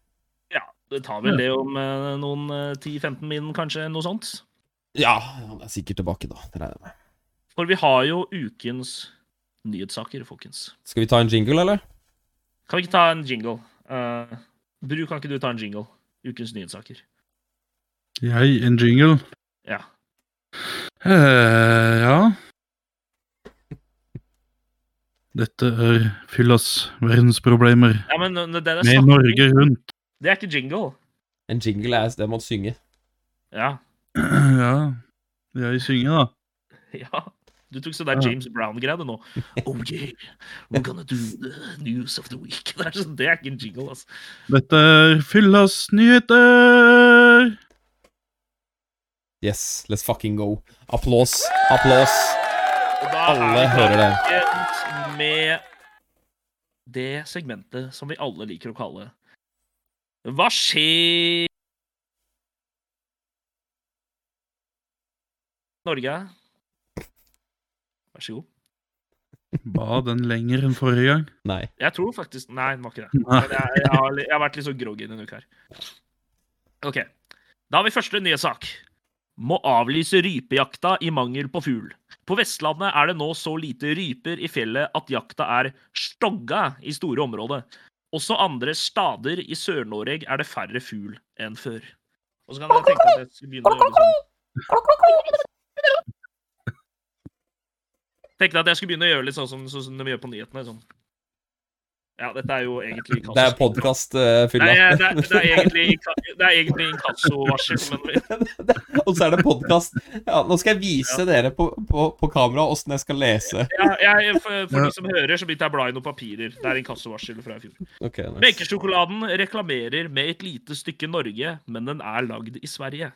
S2: Ja, det tar vel det om eh, noen eh, 10-15 min, kanskje, noe sånt.
S1: Ja, han er sikkert tilbake, da. Det regner jeg med.
S2: For vi har jo ukens nyhetssaker, folkens.
S1: Skal vi ta en jingle, eller?
S2: Kan vi ikke ta en jingle? Eh, Bru, kan ikke du ta en jingle? Ukens nyhetssaker.
S3: Jeg, en jingle.
S2: Ja.
S3: Eh, ja. Dette er fyllas verdensproblemer
S2: ja men eh, det, det, er
S3: med
S2: snakk-
S3: Norge rundt.
S2: det er ikke jingle.
S1: En jingle er det man synger.
S2: Ja.
S3: Ja, jeg synger, da.
S2: ja. Du tok sånn der
S3: Ja.
S2: James Brown-greie nå. Oh yeah, we're gonna do the news of the week. Det er, sånn, det er ikke en jingle, altså.
S3: Dette er fyllas nyheter!
S1: Yes, let's fucking go. Applaus, applaus.
S2: Og da
S1: Alle hører det.
S2: tilbake Med det segmentet som vi alle liker å kalle Hva skjer Norge? Vær så god.
S3: Ba den lenger enn forrige gang?
S1: Nei.
S2: Jeg tror faktisk Nei, den var ikke det.
S3: Nei.
S2: Men jeg, jeg, har, jeg har vært litt så groggy denne uka her. OK. Da har vi første nye sak. Må avlyse rypejakta i mangel på fugl. På Vestlandet er det nå så lite ryper i fjellet at jakta er stogga i store områder. Også andre stader i Sør-Norge er det færre fugl enn før. Og så kan dere tenke at jeg skulle begynne å gjøre sånn. Tenkte at jeg skulle begynne å gjøre litt sånn som, sånn som de gjør på nyhetene. Sånn. Ja, dette er jo egentlig
S1: Det er podkast, uh, fylla.
S2: Nei, det, er- det er egentlig inka- det er egentlig inkassovarsel, men
S1: Og så er det podkast. Ja, nå skal jeg vise dere på, på, på kamera åssen jeg skal lese.
S2: ja, jeg, for, for de som hører, så begynte jeg å bla i noen papirer. Det er inkassovarsel fra i fjor.
S1: Ok, nice.
S2: Melkesjokoladen reklamerer med et lite stykke Norge, men den er lagd i Sverige.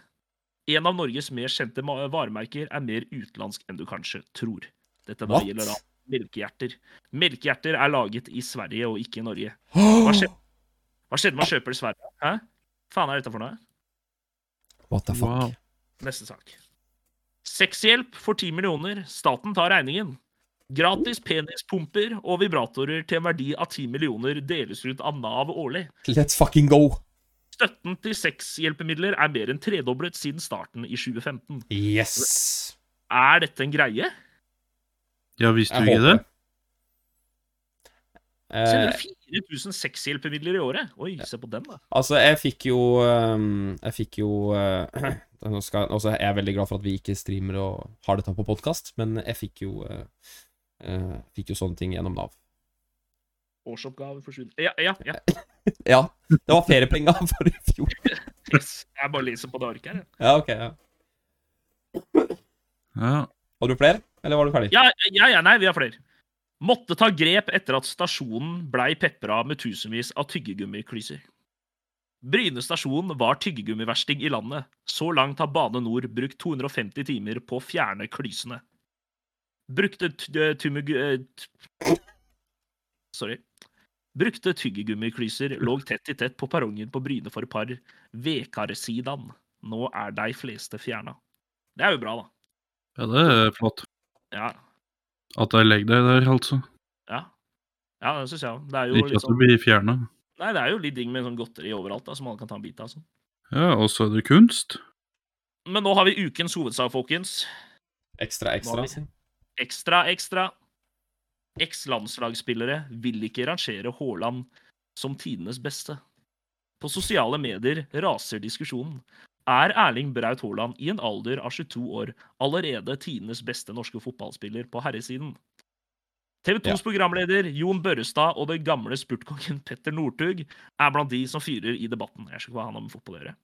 S2: En av Norges mer kjente ma- varemerker er mer utenlandsk enn du kanskje tror. Dette da
S1: What?
S2: gjelder da melkehjerter. Melkehjerter er laget i Sverige og ikke i Norge.
S1: Hva
S2: skjer? Hva skjedde med å kjøpe det i Sverige? Hæ? Faen er dette for noe?
S1: What the fuck?
S3: Wow.
S2: Neste sak. Sexhjelp for 10 millioner. Staten tar regningen. Gratis penispumper og vibratorer til en verdi av 10 millioner deles ut av Nav årlig.
S1: Let's fucking go!
S2: Støtten til sexhjelpemidler er mer enn tredoblet siden starten i 2015.
S1: Yes!
S2: Er dette en greie?
S3: Ja, visste du ikke det?
S1: Eh,
S2: Selger 4000 sexhjelpemidler i året. Oi, se på den, da.
S1: altså, jeg fikk jo um, Jeg fikk jo uh, nå skal, altså, Jeg er veldig glad for at vi ikke streamer og har dette på podkast, men jeg fikk jo uh, uh, Fikk jo sånne ting gjennom Nav.
S2: Årsoppgave forsvinner. Ja, ja. ja.
S1: Ja, det var feriepenger for i fjor.
S2: Yes. Jeg bare leser på det arket her. jeg.
S1: Ja, ok. Ja.
S3: Ja.
S1: Har du flere, eller var du ferdig?
S2: Ja, ja, ja, nei, vi har flere. Måtte ta grep etter at stasjonen blei pepra med tusenvis av tyggegummiklyser. Bryne stasjon var tyggegummiversting i landet. Så langt har Bane Nor brukt 250 timer på å fjerne klysene. Brukte t- eh, tummegu... eh, t- Sorry. Brukte tyggegummiklyser lå tett i tett på perrongen på Bryne for par vekar sidan. Nå er de fleste fjerna. Det er jo bra, da.
S3: Ja, det er flott.
S2: Ja,
S3: At de legger deg der, altså.
S2: ja. ja det syns jeg òg. Det er jo
S3: Ikke
S2: litt
S3: at du
S2: sånn
S3: blir fjerna.
S2: Nei, det er jo litt digg med sånn godteri overalt, da, som alle kan ta en bit av. og Sånn.
S3: Ja, og så er det kunst.
S2: Men nå har vi ukens hovedsak, folkens.
S1: Ekstra,
S2: Nå
S1: ekstra.
S2: har Ekstra, ekstra. Eks-landslagsspillere vil ikke rangere Haaland som tidenes beste. På sosiale medier raser diskusjonen. Er Erling Braut Haaland i en alder av 22 år allerede tidenes beste norske fotballspiller på herresiden? TV 2s programleder Jon Børrestad og den gamle spurtkongen Petter Northug er blant de som fyrer i debatten. Jeg skjønner ikke hva han har med fotball å gjøre.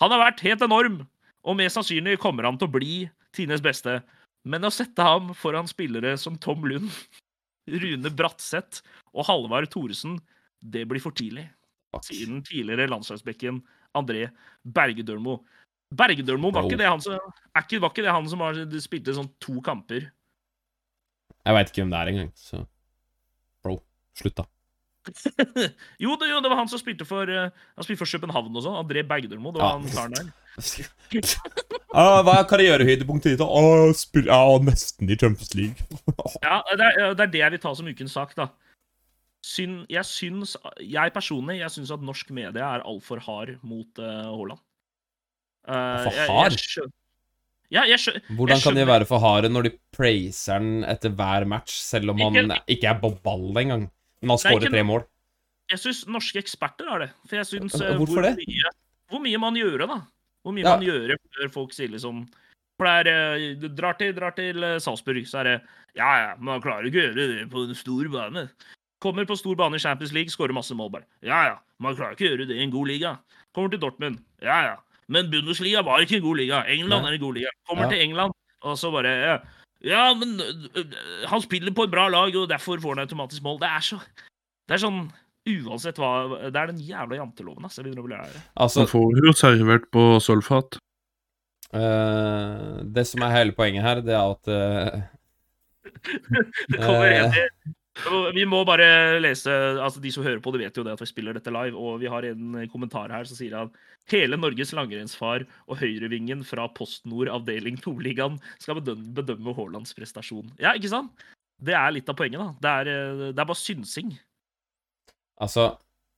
S2: Han har vært helt enorm, og mest sannsynlig kommer han til å bli tidenes beste. Men å sette ham foran spillere som Tom Lund, Rune Bratseth og Halvard Thoresen, det blir for tidlig, sier
S1: Fuck.
S2: den tidligere landslagsbekken André Bergedølmo. Bergedølmo var
S1: Bro.
S2: ikke det han som, er ikke, var ikke det han som var, spilte sånn to kamper?
S1: Jeg veit ikke hvem det er engang, så Bro, slutt, da.
S2: jo, det, jo, det var han som spilte for, eh, han spilte for København og sånn. André Bergedølmo. Det var
S1: Ja.
S2: han karen der.
S1: Ah, hva er karrierehøydepunktet ditt? Ah, spill ah, nesten i Champions League.
S2: Ja, det er, det er det jeg vil ta som ukens sak, da. Syn, jeg syns, jeg personlig jeg syns at norsk media er altfor hard mot eh, Haaland. Eh,
S1: For
S2: jeg-
S1: hard?
S2: Jeg, skjø- ja, jeg skjø-
S1: Hvordan
S2: Jeg
S1: kan de
S2: skjønner.
S1: være for harde når de praiser han etter hver match, selv om han ikke er på ball engang? Men han
S2: Nei,
S1: skårer
S2: ikke
S1: tre mål.
S2: jeg syns norske eksperter har det. For jeg syns eh,
S1: Hvorfor
S2: hvor,
S1: det?
S2: mye- hvor mye man gjør, da. Hvor mye
S1: Ja.
S2: man gjør før folk sier liksom For det er eh, du Drar til, drar til eh, Salzburg, så er det Ja, ja, man klarer ikke å gjøre det på en stor bane. Kommer på stor bane i Champions League, skårer masse mål, bare. Ja, ja, man klarer ikke å gjøre det i en god liga. Kommer til Dortmund. Ja, ja. Men Bundesliga var ikke en god liga. England
S1: Nei.
S2: er en god liga. Kommer
S1: Ja.
S2: til England, og så bare ja, ja, men ø, ø, han spiller på et bra lag, og derfor får han automatisk mål. Det er så Det er sånn Uansett hva Det er den jævla janteloven, ass. Jeg begynner å bli lei av det.
S1: Altså,
S3: Så får du jo servert på sølvfat.
S1: eh, det som er hele poenget her, det er at eh,
S2: Det kommer
S1: Eh.
S2: en- Og Vi må bare lese altså De som hører på, de vet jo det at vi spiller dette live. Og vi har en kommentar her som sier at hele Norges langrennsfar og høyrevingen fra PostNord avdeling 2-ligaen skal bedømme, bedømme Haalands prestasjon. Ja, ikke sant? Det er litt av poenget, da. Det er, eh, det er bare synsing.
S1: Altså,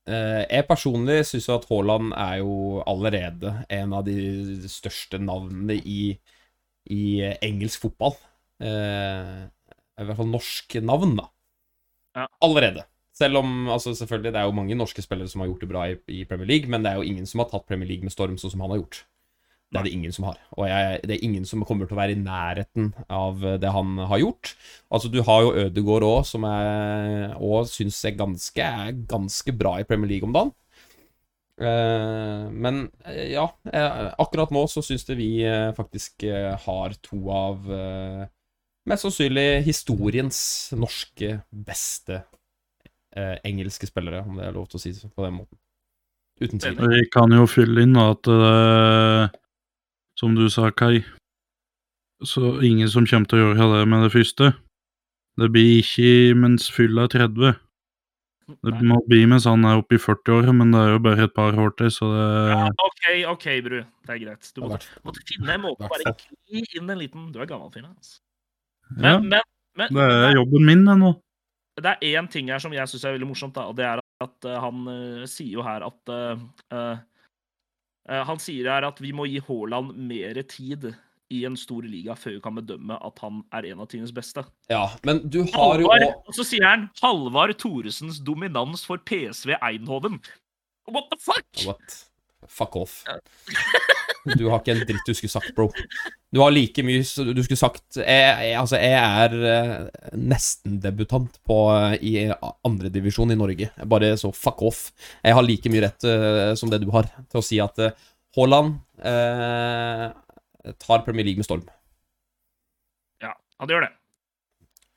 S1: eh, jeg personlig syns jo at Haaland er jo allerede en av de største navnene i, i engelsk fotball. Eh, I hvert fall norske navn, da.
S2: Ja.
S1: Allerede. Selv om altså selvfølgelig, det er jo mange norske spillere som har gjort det bra i, i Premier League, men det er jo ingen som har tatt Premier League med storm sånn som han har gjort. Det er det ingen som har. Og jeg, det er ingen som kommer til å være i nærheten av det han har gjort. Altså, du har jo Ødegaard òg, som er Og syns jeg ganske er ganske bra i Premier League om dagen. Eh, men eh, ja, eh, akkurat nå så syns det vi eh, faktisk eh, har to av eh, mest sannsynlig historiens norske beste eh, engelske spillere, om det er lov til å si det på den måten. Uten tvil.
S3: Vi kan jo fylle inn at eh, Som du sa, Kai Så ingen som kommer til å gjøre det med det første. Det blir ikke mens fylla er 30. Det
S2: Nei.
S3: må bli mens han er oppe i 40-åra, men det er jo bare et par år til, så det
S2: Ja, OK, OK, Bru. Det er greit. Du
S1: Det har
S2: må,
S1: vært-
S2: må finne en måte å bare
S1: Hvertfall.
S2: gli inn en liten Du er gammel, Finn. Altså.
S3: Ja,
S2: Men, men, men
S3: det er jobben min, det nå.
S2: det er én ting her som jeg syns er veldig morsomt, da, og det er at eh, han eh, sier jo her at eh, eh, eh, Han sier her at vi må gi Haaland mer tid i en stor liga før vi kan bedømme at han er en av tidenes beste.
S1: Ja, men du har jo
S2: Halvard,
S1: òg
S2: og så sier han Halvard Thoresens dominans for PSV Eindhoven. What the fuck?!
S1: What? Fuck off. Du har ikke en dritt du skulle sagt, bro. Du har like mye s- du skulle sagt Jeg, jeg, altså, jeg er eh, nestendebutant på eh, i andredivisjon i Norge. Bare så fuck off. Jeg har like mye rett eh, som det du har til å si at eh, Haaland eh, tar Premier League med storm.
S2: Ja, han gjør det.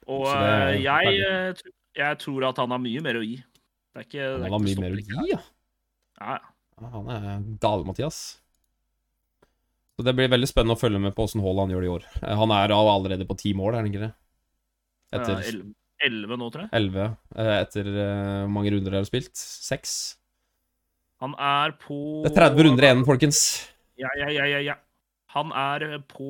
S2: Og
S1: Så det er
S2: eh, jeg, eh, tr- jeg tror at han har mye mer å gi. Det er ikke, det
S1: Han
S2: er
S1: har
S2: ikke liksom.
S1: mye mer å
S2: stopping her.
S1: gi, ja.
S2: Ja, ja.
S1: Han er gale-Mathias. Så Det blir veldig spennende å følge med på åssen Haaland gjør det i år. Eh, Han er all- allerede på ti mål, er han ikke det? Etter
S2: Eh, 11 11 nå, tror jeg.
S1: 11 eh, etter eh, hvor mange runder dere har spilt. 6.
S2: Han er på
S1: Det er 30 runder igjen, folkens.
S2: Ja, ja, ja, ja, ja. Han er eh, på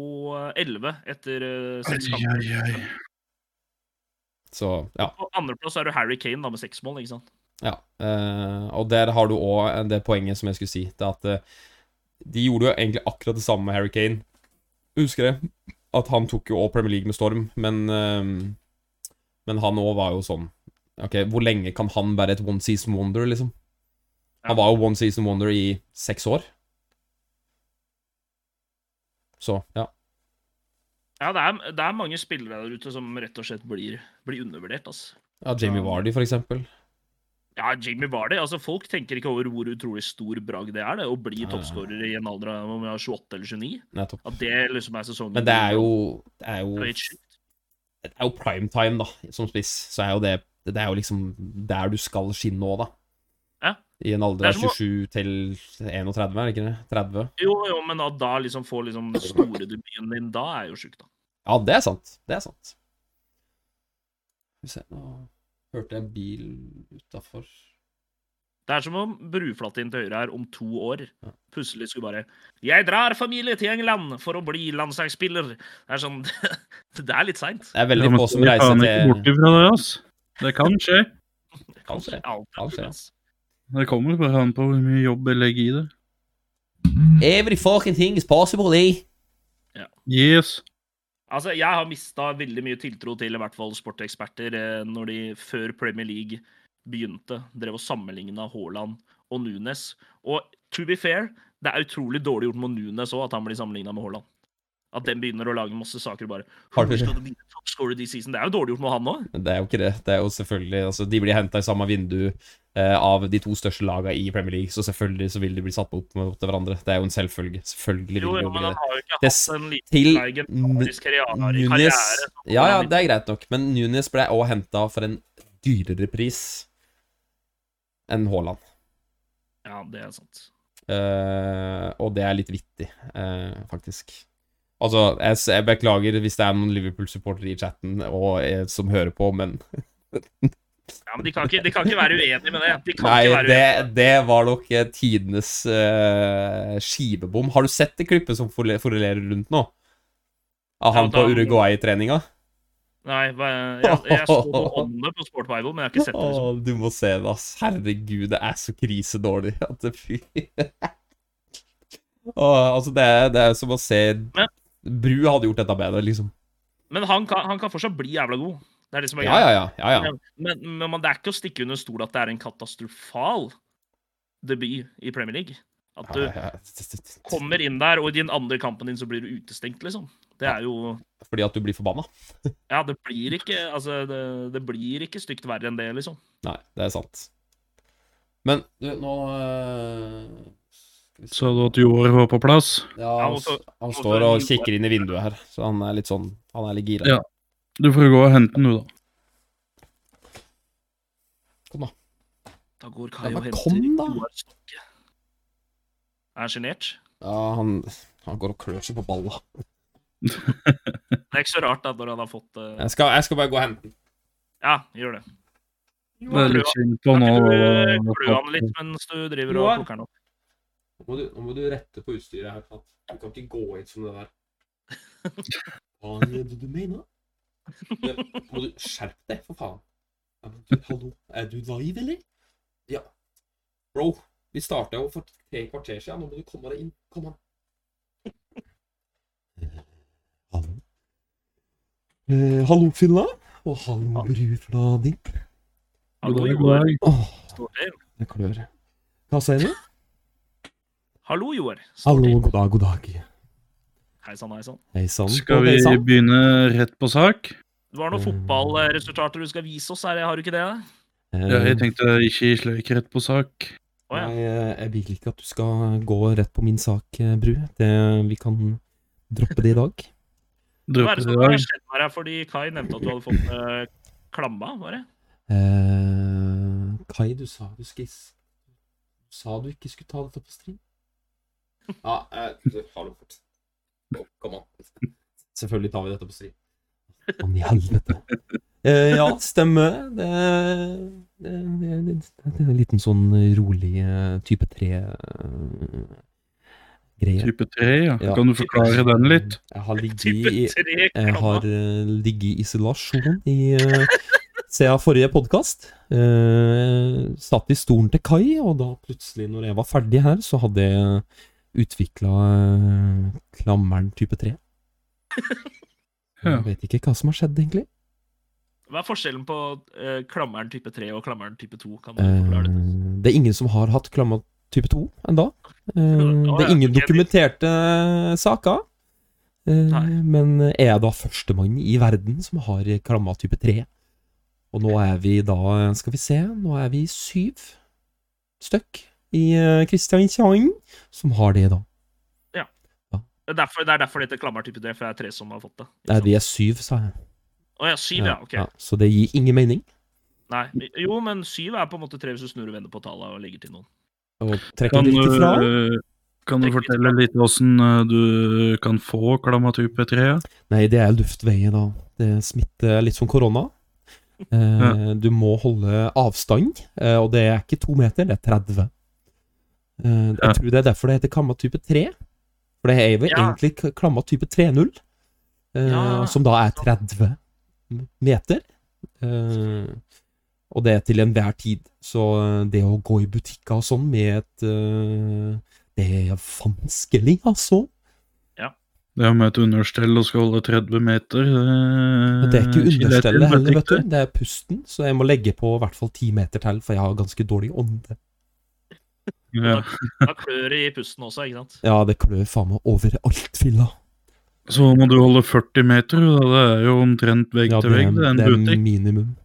S2: 11 etter eh, seks
S3: Ai,
S2: kamper.
S3: ai, ai.
S1: Så ja.
S2: På andreplass er du Harry Kane da, med seks mål. ikke sant?
S1: ja. Eh, og der har du òg det poenget som jeg skulle si. Det er at eh, de gjorde jo egentlig akkurat det samme med Harry Kane. Husker jeg at han tok jo òg Premier League med storm, men eh, Men han òg var jo sånn OK, hvor lenge kan han være et one season wonder, liksom? Han var jo one season wonder i seks år. Så, ja.
S2: Ja, det er, det er mange spillere der ute som rett og slett blir, blir undervurdert. altså.
S1: Ja, Jamie
S2: Ja.
S1: Vardy, for eksempel.
S2: Ja, Jamie Vardy. altså Folk tenker ikke over hvor utrolig stor bragd det er det, å bli
S1: Ja.
S2: toppskårer i en alder av om jeg er 28 eller 29.
S1: Nettopp.
S2: At det liksom er sesongen
S1: Men det er jo Det er
S2: Det er
S1: jo,
S2: helt sjukt.
S1: det er jo prime time, da, som spiss. Så er jo det Det er jo liksom der du skal skinne nå, da.
S2: Ja.
S1: I en alder
S2: Det er
S1: av
S2: som å-
S1: 27 til 31, er det ikke det? 30?
S2: Jo, jo, men at da liksom få liksom den store debuten din, da er jo sjukt, da.
S1: Ja, det er sant. Det er sant. Skal vi se Nå hørte jeg en bil utafor
S2: Det er som om bruflatt inn til høyre her om to år
S1: Ja.
S2: plutselig skulle bare 'Jeg drar familie til England for å bli landslagsspiller'. Det er sånn Det er litt seint.
S1: Det er veldig få som
S3: Jeg
S1: reiser
S3: kan ikke bort
S1: til
S3: ifra det, ass. Det kan skje.
S1: Kanskje. Kanskje.
S2: altså.
S3: Det kommer bare an på hvor mye jobb jeg legger i det.
S1: Every fucking thing is possible, eh?
S3: Yes.
S2: Altså, jeg har mista veldig mye tiltro til i hvert fall sporteksperter eh, når de før Premier League begynte, drev og sammenligna Haaland og Nunes. Og to be fair, det er utrolig dårlig gjort mot Nunes òg, at han blir sammenligna med Haaland. At den begynner å lage masse saker og bare
S1: Har du-
S2: «Hvor skal du bli toppscorer this season?» Det er jo dårlig gjort mot han òg.
S1: Men Det er jo ikke det. Det er jo selvfølgelig altså, De blir henta i samme vindu eh, av de to største laga i Premier League, så selvfølgelig så vil de bli satt opp mot hverandre. Det er jo en selvfølge. Selvfølgelig vil
S2: Jo,
S1: de
S2: jo,
S1: jo
S2: men
S1: bli
S2: han
S1: det.
S2: har jo ikke
S1: Det
S2: hatt
S1: s-
S2: en liten
S1: Til
S2: legendarisk karriere.
S1: Nunes
S2: karriere som
S1: Ja, ja,
S2: Haaland
S1: det er greit nok, men Nunes ble også henta for en dyrere pris enn Haaland.
S2: Ja, det er sant.
S1: Eh, og det er litt vittig, eh, faktisk. Altså, jeg, s- jeg beklager hvis det er noen Liverpool-supportere i chatten og, eh, som hører på, men
S2: Ja, men de kan ikke, de kan ikke være uenige med det. De kan
S1: Nei,
S2: ikke være
S1: det, det var nok eh, tidenes eh, skivebom. Har du sett det klippet som forle- florerer rundt nå? Av han
S2: Ja,
S1: på
S2: da-
S1: Uruguay-treninga?
S2: Nei, hva- jeg, jeg så noe om det på Sport Bible, men jeg har ikke sett det. Liksom.
S1: Åh, Du må se det, ass. Herregud, det er så krisedårlig at det fy Åh, Altså, det er, det er som å se
S2: Men-
S1: Bru hadde gjort dette bedre, liksom.
S2: Men han kan, han kan fortsatt bli jævla god. Det er det som er
S1: Ja,
S2: greia.
S1: ja, ja. ja, ja.
S2: Men, men man, det er ikke å stikke under stol at det er en katastrofal debut i Premier League. At du
S1: Ja, ja, ja.
S2: kommer inn der, og i den andre kampen din så blir du utestengt, liksom. Det er jo
S1: Fordi at du blir forbanna.
S2: Ja, det blir ikke Altså, det, det blir ikke stygt verre enn det, liksom.
S1: Nei, det er sant. Men du, nå eh, skal vi se.
S3: Sa du at Joar var på plass?
S1: Ja,
S2: Ja,
S1: han,
S2: og så-
S1: han
S2: så
S1: står
S2: er
S1: og
S2: det-
S1: kikker inn i vinduet her, så han er litt sånn Han er litt gira.
S3: Ja. Du får gå og hente den, du, da.
S2: Da går
S1: Ja,
S2: Kai
S1: men
S2: og henter
S1: kom da!
S2: Joar Stokke. Er han sjenert?
S1: Ja, han, han går og klør seg på balla.
S2: Det er ikke så rart da, når han har fått eh,
S1: Jeg skal, jeg skal bare gå og hente den.
S2: Ja, gjør det.
S3: Det er litt synd på
S2: Kan
S3: nå.
S2: ikke du eh, klø han litt mens du driver og
S1: Joar.
S2: plukker han opp?
S1: Nå må, du, nå må du rette på utstyret her. Kat. Du kan ikke gå inn som det der. Hva er det du mener? Det- Må du skjerpe deg, for faen. Ja, men du, hallo, er du live, eller? Ja. Bro, vi starta jo for tre kvarter siden. Nå må du komme deg inn. Kom an. Hallo. Eh, hallo, Finna. Og hallo, brudfla di.
S2: Hallo,
S3: God dag,
S2: Joar.
S3: god dag.
S1: Åh,
S2: Står til.
S1: det klør. Hva sier du?
S2: Hallo, Joar. Står
S1: Hallo,
S2: til.
S1: god dag, god dag.
S2: Hei sann, hei sann.
S1: Hei sann.
S3: Skal
S1: og
S3: vi
S1: hei sann.
S3: begynne rett på sak?
S2: Du har noen
S1: Mm.
S2: fotballresultater du skal vise oss her, har du ikke det?
S3: Ja, jeg
S1: Eh,
S3: tenkte ikke sleik rett på sak.
S2: Å ja.
S1: Nei, eh, jeg vil ikke at du skal gå rett på min sak, eh, Bru. Det, vi kan droppe det i dag.
S2: Hva er
S3: Dropper
S2: det
S3: det
S2: som
S3: i
S2: har
S3: dag.
S2: skjedd med deg? Fordi Kai nevnte at du hadde fått eh, klamma, var det?
S1: Eh, Kai, du sa du skulle Du sa du ikke skulle ta dette på stream. Ja, eh, du har det fort. Kom, Kom an. Selvfølgelig tar vi dette på stream. Mann i helvete. Eh, ja, stemmer. Det, det, det, det, det er en liten sånn rolig eh, type 3 eh, greier.
S3: Type 3, ja.
S1: Ja.
S3: Kan du forklare den litt?
S1: Mm, Jeg har ligget
S2: Type
S1: i,
S2: 3
S1: jeg
S2: klamma.
S1: har eh, ligget i isolasjon i eh, siden forrige podkast. satt i stolen til Kai, og da plutselig, når jeg var ferdig her, så hadde jeg utvikla klammeren type 3.
S3: Ja.
S1: Jeg vet ikke hva som har skjedd, egentlig.
S2: Hva er forskjellen på eh, klammeren type 3 og klammeren type 2? Kan du forklare det?
S1: Eh, det er ingen som har hatt klamma type 2 enda. Eh,
S2: Å,
S1: det er
S2: ja,
S1: ingen
S2: ok.
S1: dokumenterte saker. Eh,
S2: Nei.
S1: men er jeg da førstemann i verden som har klamma type 3? Og nå er vi da, skal vi se, nå er vi syv stykk i eh, Kristiansand som har det, da.
S2: Det er derfor, det er derfor det heter klammer type 3, for det er tre som har fått det. ikke
S1: Nei,
S2: sant?
S1: vi er syv, sa jeg.
S2: Å ja, syv, ja. Ok.
S1: Ja, så det gir ingen mening.
S2: Nei. Jo, men syv er på en måte tre hvis du snur og vender på tallet og legger til noen.
S1: Og trekker
S3: Kan
S1: det
S3: du,
S1: riktig fra.
S3: eh, kan du fortelle litt åssen du kan få klamma type 3? ja?
S1: Nei, det er luftveien, da. Det smitter litt som korona. Eh, du må holde avstand, eh, og det er ikke to meter, det er 30. Eh,
S3: Ja.
S1: jeg tror det er derfor det heter klamma type 3. For det er jo
S2: Ja.
S1: egentlig k- klamma type 3.0, eh,
S2: Ja.
S1: som da er 30 meter. Eh, og det er til enhver tid. Så eh, det å gå i butikker og sånn med et eh, Det er vanskelig, altså.
S3: Det med et understell og skal holde 30 meter eh,
S1: Og det er
S3: Mm,
S1: ikke understellet heller, vet
S3: ikke.
S1: du. Det er pusten, så jeg må legge på i hvert fall ti meter til, for jeg har ganske dårlig ånde.
S3: Ja.
S2: Da klør det i pusten også, ikke sant?
S1: Ja, det klør faen meg overalt, filla.
S3: Så må du holde 40 meter, da. det er jo omtrent vegg
S1: Ja,
S3: til vegg. Det er en butikk.
S1: minimum.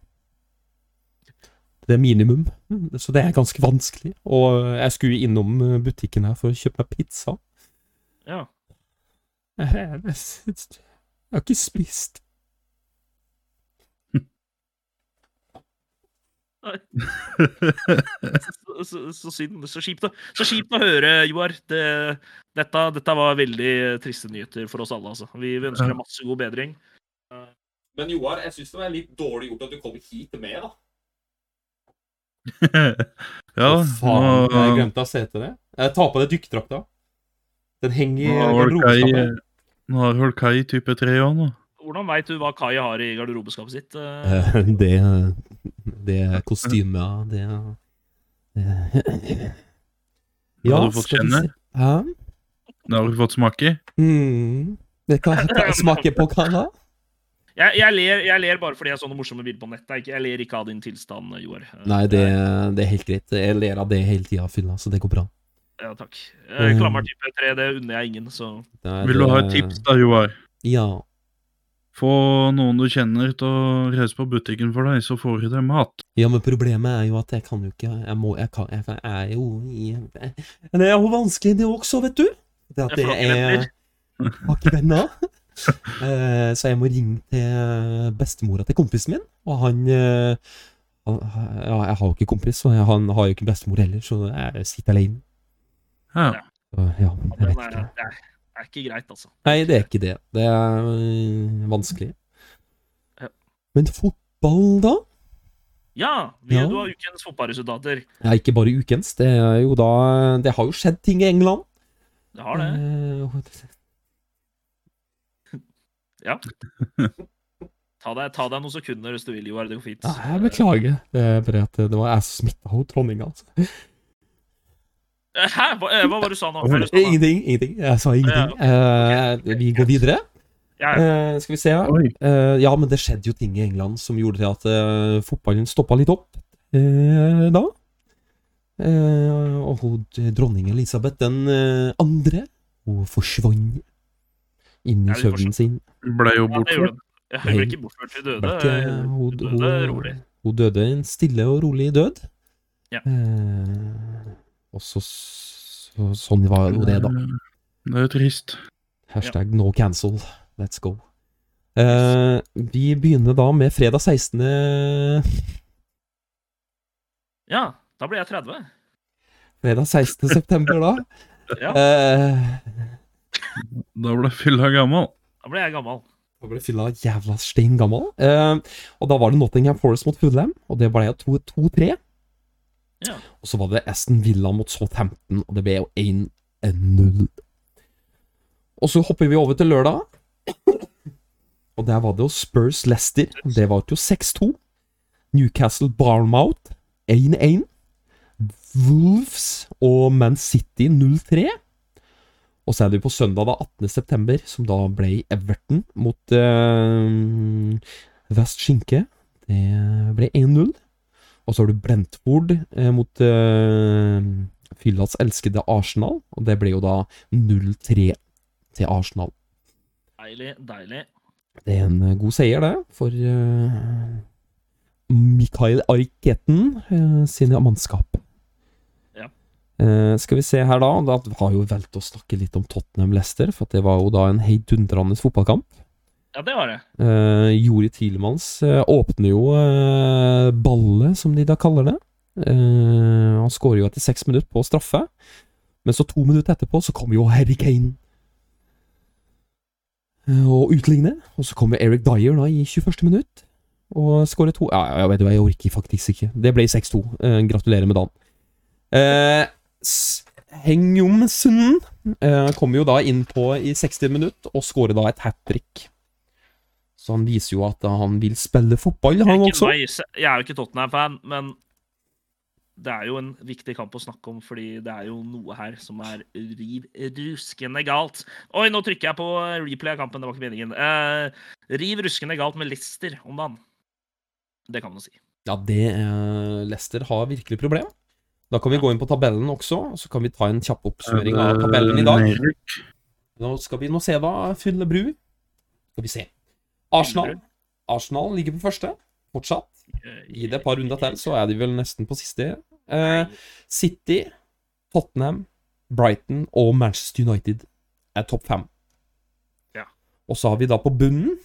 S1: Det er minimum, Mm, så det er ganske vanskelig. Og jeg skulle innom eh, butikken her for å kjøpe meg pizza.
S2: Ja.
S1: Jeg har ikke spist.
S2: Så, så, så, synd. så kjipt å- så kjipt å høre, Joar. Det, dette, dette var veldig triste nyheter for oss alle, altså. Vi vi ønsker deg masse god bedring.
S1: Men Joar, jeg syns det var litt dårlig gjort at du kom hit med, da.
S3: ja,
S1: faen, jeg
S3: nå,
S1: glemte å se til det. Jeg tar på deg dykkerdrakta. Den henger i
S3: nå har Kai,
S1: garderobeskapet.
S3: nå har vel Kai type 3 òg, nå.
S2: Hvordan veit du hva Kai har i garderobeskapet sitt? eh?
S1: Eh, Det, det kostymet det, det
S3: Har du fått
S1: skal vi
S3: kjenne?
S1: se. Hæ?
S3: Det har du fått smake i.
S1: Mm. Det kan ta- smake på hva da?
S2: Jeg, jeg, ler, jeg ler bare fordi jeg så noen morsomme bilder på nettet. Jeg, ikke- jeg ler ikke av din tilstand, Joar. Eh,
S1: Nei, det, det er helt greit. Jeg ler av det hele tida, fylla, så det går bra.
S2: Ja, takk. Eh, Klammer type 3, det unner jeg ingen, så
S1: Nei,
S3: Vil du
S1: det-
S3: ha et tips da, Joar?
S1: Ja.
S3: Få noen du kjenner til å reise på butikken for deg, så får du deg mat.
S1: ja, men problemet er jo at jeg kan jo ikke Jeg må Jeg, kan, jeg er jo i Men det er jo vanskelig, det også, vet du. Det at
S2: Jeg
S1: det
S2: får ikke
S1: er
S2: venner.
S1: Har ikke venner. Eh, Så jeg må ringe til bestemora til kompisen min, og han, eh, han Ja, jeg har jo ikke kompis, og han har jo ikke bestemor heller, så jeg sitter alene.
S3: Ja.
S1: Så, ja, jeg vet
S2: den er,
S1: ikke.
S2: det, er, det er ikke greit, altså.
S1: Nei, det er ikke det. Det er eh, vanskelig.
S2: Ja.
S1: Men fotball, da?
S2: Ja, vi,
S1: Ja.
S2: du har ukens fotballresultater.
S1: Ja, ikke bare ukens. Det er jo da Det har jo skjedd ting i England.
S2: Det har det.
S1: Eh,
S2: Ta deg, ta deg noen sekunder hvis du vil, Joar. Det går fint.
S1: Ja, jeg beklager. Det er bare at det var jeg som smitta henne, dronninga. Altså.
S2: Eh, Hæ? Hva, eh, hva var det du sa nå? Hva var det du sa nå?
S1: Ingenting. Ingenting. Jeg sa ingenting. Eh, Vi går videre.
S2: Ja, ja.
S1: Eh, skal vi se.
S3: Oi.
S1: Eh, ja, men det skjedde jo ting i England som gjorde til at eh, fotballen stoppa litt opp eh, da. Eh, og hun, dronning Elisabeth den eh, andre, hun forsvant inn i
S2: Ja, hun
S1: søvnen sin.
S3: Ble jo
S2: Ja, det gjorde
S3: bortført.
S2: den. Ja, Hun ble ikke bortført. Hun døde.
S1: Ble ikke-
S2: eh,
S1: hun-
S2: Hun døde
S1: hun-
S2: rolig.
S1: Hun døde en stille og rolig død.
S2: Ja.
S1: Eh, og så, så Sånn var jo det, da.
S3: Eh, Det er trist.
S1: Hashtag no cancel. Let's go. Eh, vi begynner da med fredag 16.
S2: Ja, da ble jeg 30.
S1: Fredag 16. september, da.
S2: Ja,
S1: Eh,
S3: Da ble fylla gammel.
S2: da ble jeg gammel.
S1: da ble fylla jævla stein gammel. Eh, og da var det Nottingham Forest mot Fulham, og det ble jo to- 2-3.
S2: Ja.
S1: Og så var det Aston Villa mot Southampton, og det ble jo 1-0. Og så hopper vi over til lørdag. Og der var det jo Spurs Leicester. Det var jo 6-2. Newcastle Barmouth 1-1. Wolves og Man City 0-3. Og så er det jo på søndag da 18. september, som da ble Everton mot eh, Vest Skinke. Det ble 1-0. Og så har du Brentford eh, mot eh, Fyllas elskede Arsenal, og det ble jo da 0-3 til Arsenal.
S2: Deilig, deilig.
S1: Det er en eh, god seier, det, for eh, Mikael Arketen eh, sine mannskap.
S2: Ja.
S1: Eh, skal vi se her, da. Da har jo valgt å snakke litt om Tottenham-Lester, for at det var jo da en heidundrende fotballkamp.
S2: Ja, det var det.
S1: Eh, Jori Tilemanns eh, åpner jo eh, ballet, som de da kaller det. Eh, han skårer jo etter seks minutter på straffe. Men så to minutter etterpå så kommer jo Harry Kane eh, og utligner. Og så kommer Eric Dyer da i 21. minutt og skårer to. Ja, ja, jeg vet du hva, jeg orker faktisk ikke. Det ble 6-2. Eh, gratulerer med dagen. Eh, S- Hengjom Sunden eh, kommer jo da inn på i 60 minutt og skårer da et hat trick. Så han viser jo at han vil spille fotball,
S2: Jeg er
S1: han
S2: ikke
S1: også.
S2: nice. Jeg er jo ikke Tottenham-fan, men det er jo en viktig kamp å snakke om, fordi det er jo noe her som er riv ruskende galt. Oi, nå trykker jeg på replay av kampen, det var ikke meningen. Eh, riv ruskende galt med Leicester om dagen. Det kan man si.
S1: Ja, det eh, Leicester har virkelig problem. Da kan vi gå inn på tabellen også, og så kan vi ta en kjapp oppsummering av tabellen i
S3: Eh,
S1: dag. Nå skal vi nå se, da. Fylle bru. Skal vi se. Arsenal. Arsenal ligger på første, fortsatt. Gi det et par runder til, så er de vel nesten på siste. Eh, City, Tottenham, Brighton og Manchester United er topp fem.
S2: Ja.
S1: Og så har vi da på bunnen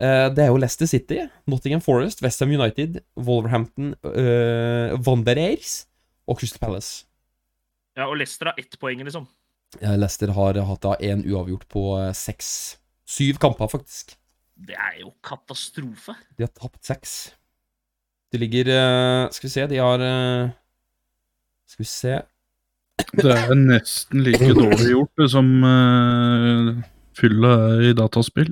S1: eh, Det er jo Leicester City, Nottingham Forest, Westham United, Wolverhampton, eh, Wanderers og Crystal Palace.
S2: Ja, og Leicester har ett poeng, liksom.
S1: Eh, Leicester har hatt da én uavgjort på eh, seks Syv kamper, faktisk.
S2: Det er jo katastrofe.
S1: De har tapt seks. De ligger eh, Skal vi se, de har eh, Skal vi se
S3: Det er nesten like dårlig gjort det som uh, fylla er i dataspill.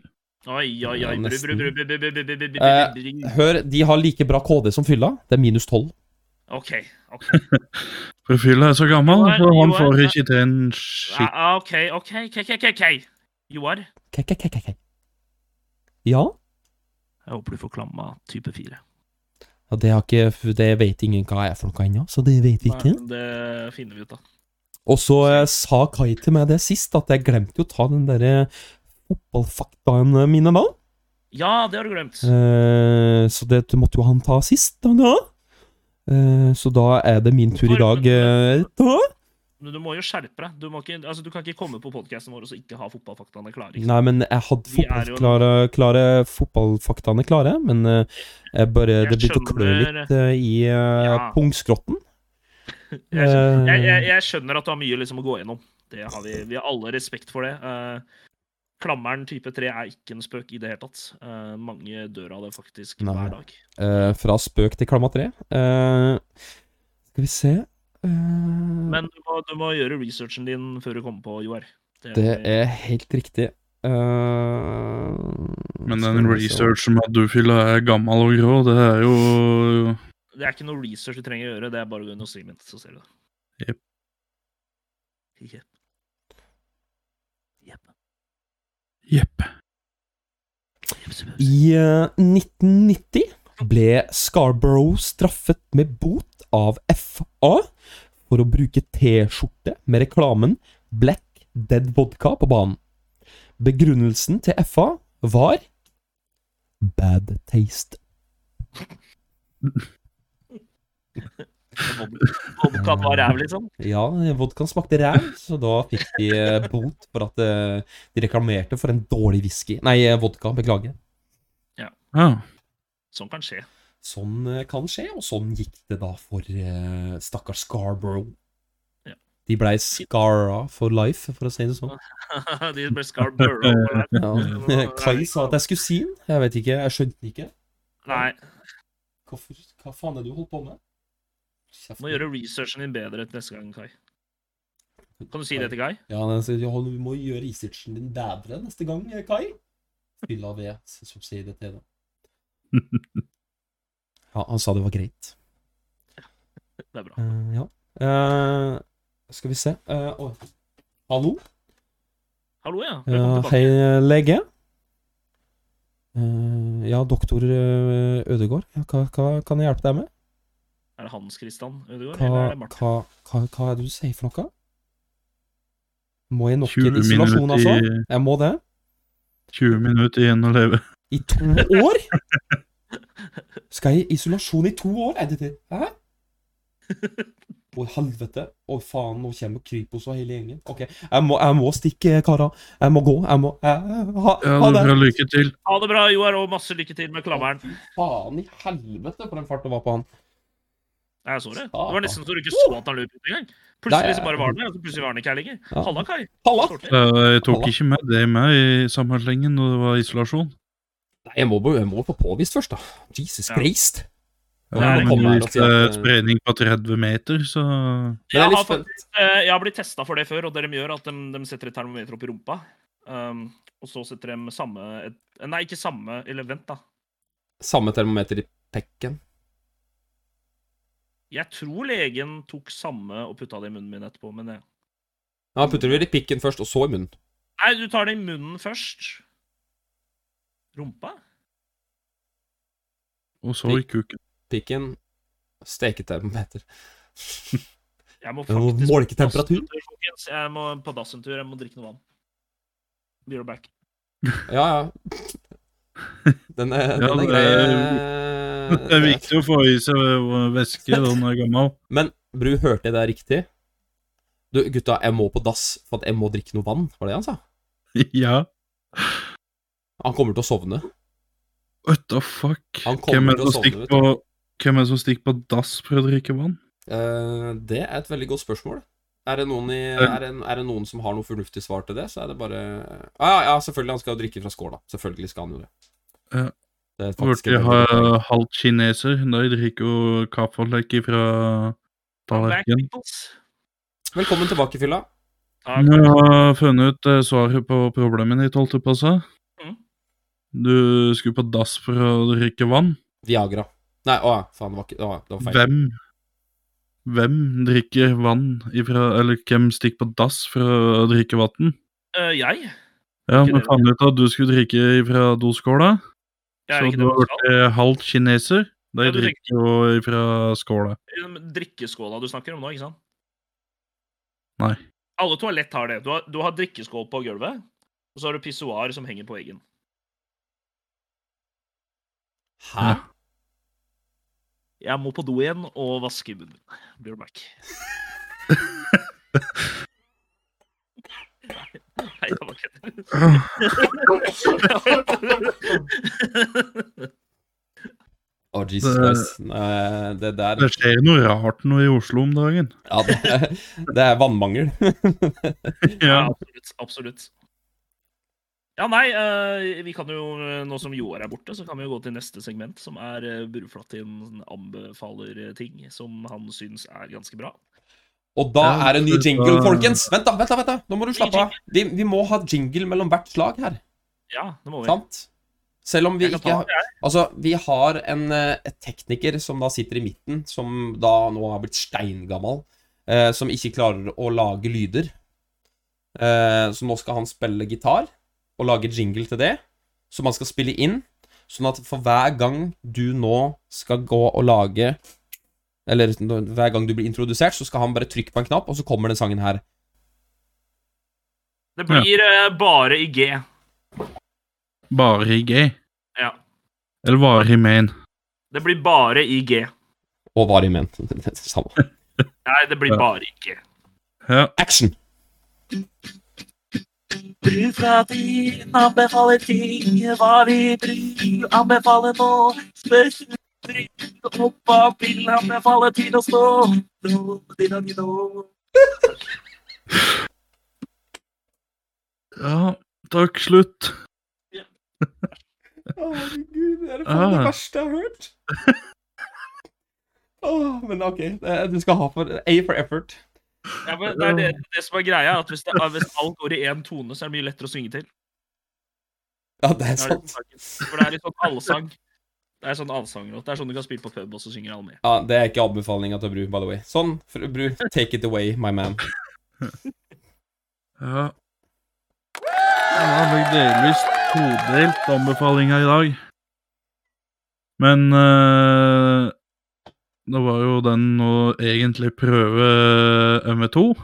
S2: Oi, oi,
S1: Ja,
S2: oi. Bru,
S1: nesten.
S2: bru, bru, bru, bru, bru, bru, bru, bru,
S1: Eh,
S2: bru, bru.
S1: Hør, de har like bra KD som fylla. Det er minus 12.
S2: OK. ok.
S3: For fylla er så gammel,
S2: Joar,
S3: så han
S2: Joar,
S3: får
S2: ja.
S3: ikke til en shit.
S2: Ja, Ah, OK, OK, OK, OK, OK. Joar,
S1: K -k -k -k -k. Ja?
S2: jeg håper du får klamma type 4.
S1: ja det, har ikke, det vet ingen hva er for noe ennå, så det vet vi ikke.
S2: Nei, det finner vi ut av.
S1: Og så eh, sa Kai til meg det sist, at jeg glemte jo å ta den derre fotballfaktaene mine da.
S2: Ja, det har du glemt.
S1: Eh, så det måtte jo han ta sist, da. da. Eh, så da er det min tur i dag. Eh, da.
S2: Men du må jo skjerpe deg. Du, må ikke, altså, du kan ikke komme på podkasten vår og så ikke ha fotballfaktaene klare. ikke sant?
S1: Nei, men jeg hadde
S2: Liksom. Vi er jo-
S1: fotballklare, klare, fotballfaktaene klare, men eh, jeg bare,
S2: Jeg
S1: det begynte å klø
S2: skjønner.
S1: litt eh, i eh,
S2: Ja.
S1: pungskrotten.
S2: Jeg,
S1: Eh.
S2: jeg, jeg, jeg skjønner at du har mye liksom, å gå gjennom. Det har vi, vi har alle respekt for det. Eh, klammeren type 3 er ikke en spøk i det hele tatt. Eh, mange dør av det faktisk
S1: Nei.
S2: hver dag.
S1: Eh, fra spøk til klamma tre. Eh, skal vi se Eh,
S2: Men du må, du må gjøre researchen din før du kommer på, Joar. Det-
S1: Det er helt riktig. Eh,
S3: Men
S1: skal
S3: den
S1: vi se.
S3: researchen med at du fylla er gammel og grå, det er jo
S2: Det er ikke noe research du trenger å gjøre, det er bare å gå inn og streame, så ser du det.
S3: Jep.
S2: Jep. Jep.
S3: Jepp.
S1: I eh, 1990 ble Scarborough straffet med bot av FA for å bruke T-skjorte med reklamen Black Dead Vodka på banen. Begrunnelsen til FA var Bad taste.
S2: Vodka var ræv, liksom.
S1: Ja, vodkaen smakte ræv, så da fikk de eh, bot for at eh, de reklamerte for en dårlig whisky. Nei, eh, vodka, beklager.
S3: Ja.
S2: Sånn kan skje.
S1: Sånn eh, kan skje, og sånn gikk det da for eh, stakkars Scarborough.
S2: Ja.
S1: De blei scara for life, for å si det sånn.
S2: De ble Scarborough.
S1: Kai sa at jeg skulle si den. Jeg vet ikke, jeg skjønte den ikke.
S2: Nei,
S1: Hvorfor, hva faen er det du holdt på med? Kjeft.
S2: må gjøre researchen din bedre til neste gang, Kai. Kan du si det til Kai?
S1: Ja, men jeg sier, ja, du må gjøre researchen din bedre neste gang, eh, Kai. Fyll av ved subsidiet til det. ja, han sa det var greit.
S2: Det er bra.
S1: Eh, ja. Eh, skal vi se Eh, å. Hallo?
S2: Hallo, ja.
S1: Ja,
S2: Velkommen tilbake.
S1: hei, lege. Eh, ja, doktor eh, Ødegård, ja, hva, hva kan jeg hjelpe deg med?
S2: Er det Hans Christian Ødegaard, eller
S1: Hva,
S2: er det Martin?
S1: hva, hva, hva er det du sier for noe? Må jeg nok en
S3: 20
S1: isolasjon,
S3: minutter,
S1: altså?
S3: i,
S1: Jeg må det.
S3: 20 minutter igjen å leve.
S1: I to år?! Skal jeg i isolasjon i to år? Er det det? Hæ? Å, helvete. Å, faen, nå kommer Kripos og hele gjengen. OK, jeg må, jeg må stikke, karer. Jeg må gå. Jeg må jeg, ha,
S3: Ja,
S1: ha
S3: det
S1: det.
S3: er bra. Lykke til.
S2: Ha det bra, Joar, og masse lykke til med klammeren.
S1: Faen i helvete for en fart det var på han.
S2: Nei, Jeg så det. Det var nesten så du ikke så at han løp ut engang.
S1: Nei,
S2: Plutselig
S1: jeg-
S2: så bare var han der, og så plutselig var han ikke her lenger.
S1: Ja.
S2: Halla, Kai.
S1: Halla!
S2: Sorte.
S3: Ja, Jeg tok ikke med det med i samme slengen når det var isolasjon.
S1: Nei, jeg må, jeg må få påvist først, da. Jesus
S2: Ja.
S1: Christ.
S2: Ja,
S3: Ja,
S2: det
S3: men
S1: kommer her
S3: hvis
S1: og
S3: det
S1: sier
S3: er
S1: at, eh,
S3: spredning på 30 meter, så
S1: Men jeg
S2: Jeg
S1: er
S2: har,
S1: litt spent.
S2: faktisk, eh, jeg har blitt testa for det før, og det de gjør, at de, de setter et termometer opp i rumpa. Um, og så setter de samme et, eh, Nei, ikke samme Eller vent, da.
S1: Samme termometer i pekken.
S2: Jeg tror legen tok samme og putta det i munnen min etterpå, men eh, jeg...
S1: Ja, han putter det i pikken først, og så i munnen.
S2: Nei, du tar det i munnen først. Rumpa?
S3: Og så i kuken.
S1: Pikken steketermometer.
S2: Jeg må
S1: Jeg må
S2: faktisk
S1: måle ikke temperatur.
S2: Dassentur, folkens. Jeg må på dass en tur. Jeg må drikke noe vann. Be right back.
S1: Ja, ja. Den er,
S3: Ja,
S1: den er
S3: det-
S1: grei.
S3: Det er viktig å få i seg væske når man er gammel.
S1: Men Bru, hørte jeg det riktig? Du, gutta, jeg må på dass, for at jeg må drikke noe vann. Var det han sa?
S3: Ja.
S1: Han kommer til å sovne.
S3: What the fuck?
S1: Han
S3: Hvem
S1: kommer
S3: er
S1: til
S3: det
S1: å
S3: som
S1: sovne,
S3: stikker
S1: vet du.
S3: på, hvem er det som stikker på dass for å drikke vann?
S1: Eh, det er et veldig godt spørsmål. Er det, noen i, er, det, er det noen som har noe fornuftig svar til det, så er det bare ah, ja, ja, selvfølgelig. Han skal jo drikke fra skåla. Selvfølgelig skal han jo det.
S3: Ja.
S1: Det er faktisk
S3: Burde
S1: et veldig godt poeng.
S3: ha halvt kineser. De drikker jo kaffelekke fra
S2: Come back,
S3: tallerkenen.
S2: peoples.
S1: Velkommen tilbake, Fylla.
S2: Takk.
S3: Nå har jeg funnet ut eh, svaret på problemet ditt, holdt jeg på å si.
S2: Mhm.
S3: Du skulle på dass for å drikke vann.
S1: Viagra. Nei, å ja, faen, det var, ikke, å, ja, det var feil.
S3: Hvem Hvem drikker vann ifra Eller hvem stikker på dass for å drikke vann?
S2: Eh, jeg?
S3: Ja,
S2: Ikke
S3: vi
S2: det.
S3: fant ut at du skulle drikke ifra doskåla,
S2: Jeg er
S3: så
S2: ikke
S3: du
S2: det
S3: har
S2: man skal.
S3: blitt eh, halvt kineser. De
S2: Ja, du tenker-
S3: drikker jo ifra skåla.
S2: Eh, Drikkeskåla du snakker om nå, ikke sant?
S3: Nei.
S2: Alle toalett har det. Du har, du har drikkeskål på gulvet, og så har du pissoar som henger på veggen.
S1: Hæ?
S2: Jeg må på do igjen og vaske munnen. Blir du back? Nei, jeg bare
S1: Ah.
S2: kødder.
S1: Å, Jesus
S3: Det-
S1: Christ. Nei, det der
S3: Det skjer noe rart nå i Oslo om dagen.
S1: Ja, det er, det er vannmangel.
S2: Ja,
S3: Ja.
S2: absolutt. Absolutt. Ja, nei, eh, vi kan jo, eh, nå som Joar er borte, så kan vi jo gå til neste segment, som er uh, Burflatin anbefaler eh, ting som han syns er ganske bra.
S1: Og da
S3: Ja,
S1: er det en ny
S3: det
S1: jingle,
S3: var-
S1: folkens. Vent, da. vent da, vent da. Nå må du slappe av. Vi, vi må ha jingle mellom hvert slag her.
S2: Ja, det må vi.
S1: Sant? Selv om vi
S2: Jeg kan
S1: ikke
S2: ta
S1: har
S2: det, jeg.
S1: Altså, vi har en eh, tekniker som da sitter i midten, som da nå har blitt steingammal, eh, som ikke klarer å lage lyder. Eh, så nå skal han spille gitar og lage jingle til det, som han skal spille inn. Sånn at for hver gang du nå skal gå og lage Eller når- hver gang du blir introdusert, så skal han bare trykke på en knapp, og så kommer den sangen her.
S2: Det blir eh, bare i G.
S3: Bare i G.
S2: Ja.
S3: Eller bare i main.
S2: Det blir bare i G.
S1: Og var i ment. Samme.
S2: Nei, det blir
S3: Ja.
S2: bare i G.
S3: Ja.
S1: Action!
S4: Bru fra tiden anbefaler ting. Hva vil Bru anbefale nå? Spør Bru opp hva vil anbefale til å stå? Nå, dina, dina, nå.
S3: Ja, takk, slutt.
S1: Å, herregud, det er
S3: faen det Ah.
S1: verste jeg har hørt. men OK, du skal ha for A for effort.
S2: Ja, men det, er det, det som er greia, er at hvis, det, er- hvis alt går i én tone, så er det mye lettere å synge til.
S1: Ja, det er
S2: Det er det
S1: sant.
S2: som er saken. For det er litt sånn allsang. Det er sånn allsanglåt. Det er sånn du kan spille på pub, og så synger alle med.
S1: Ja, Det er ikke anbefalinga til Bru, by the way. Sånn, fr- Bru, take it away, my man.
S3: Ja. Det var nok delvis todelt anbefalinga i dag. Men eh, det var jo den å egentlig prøve eh, MV2.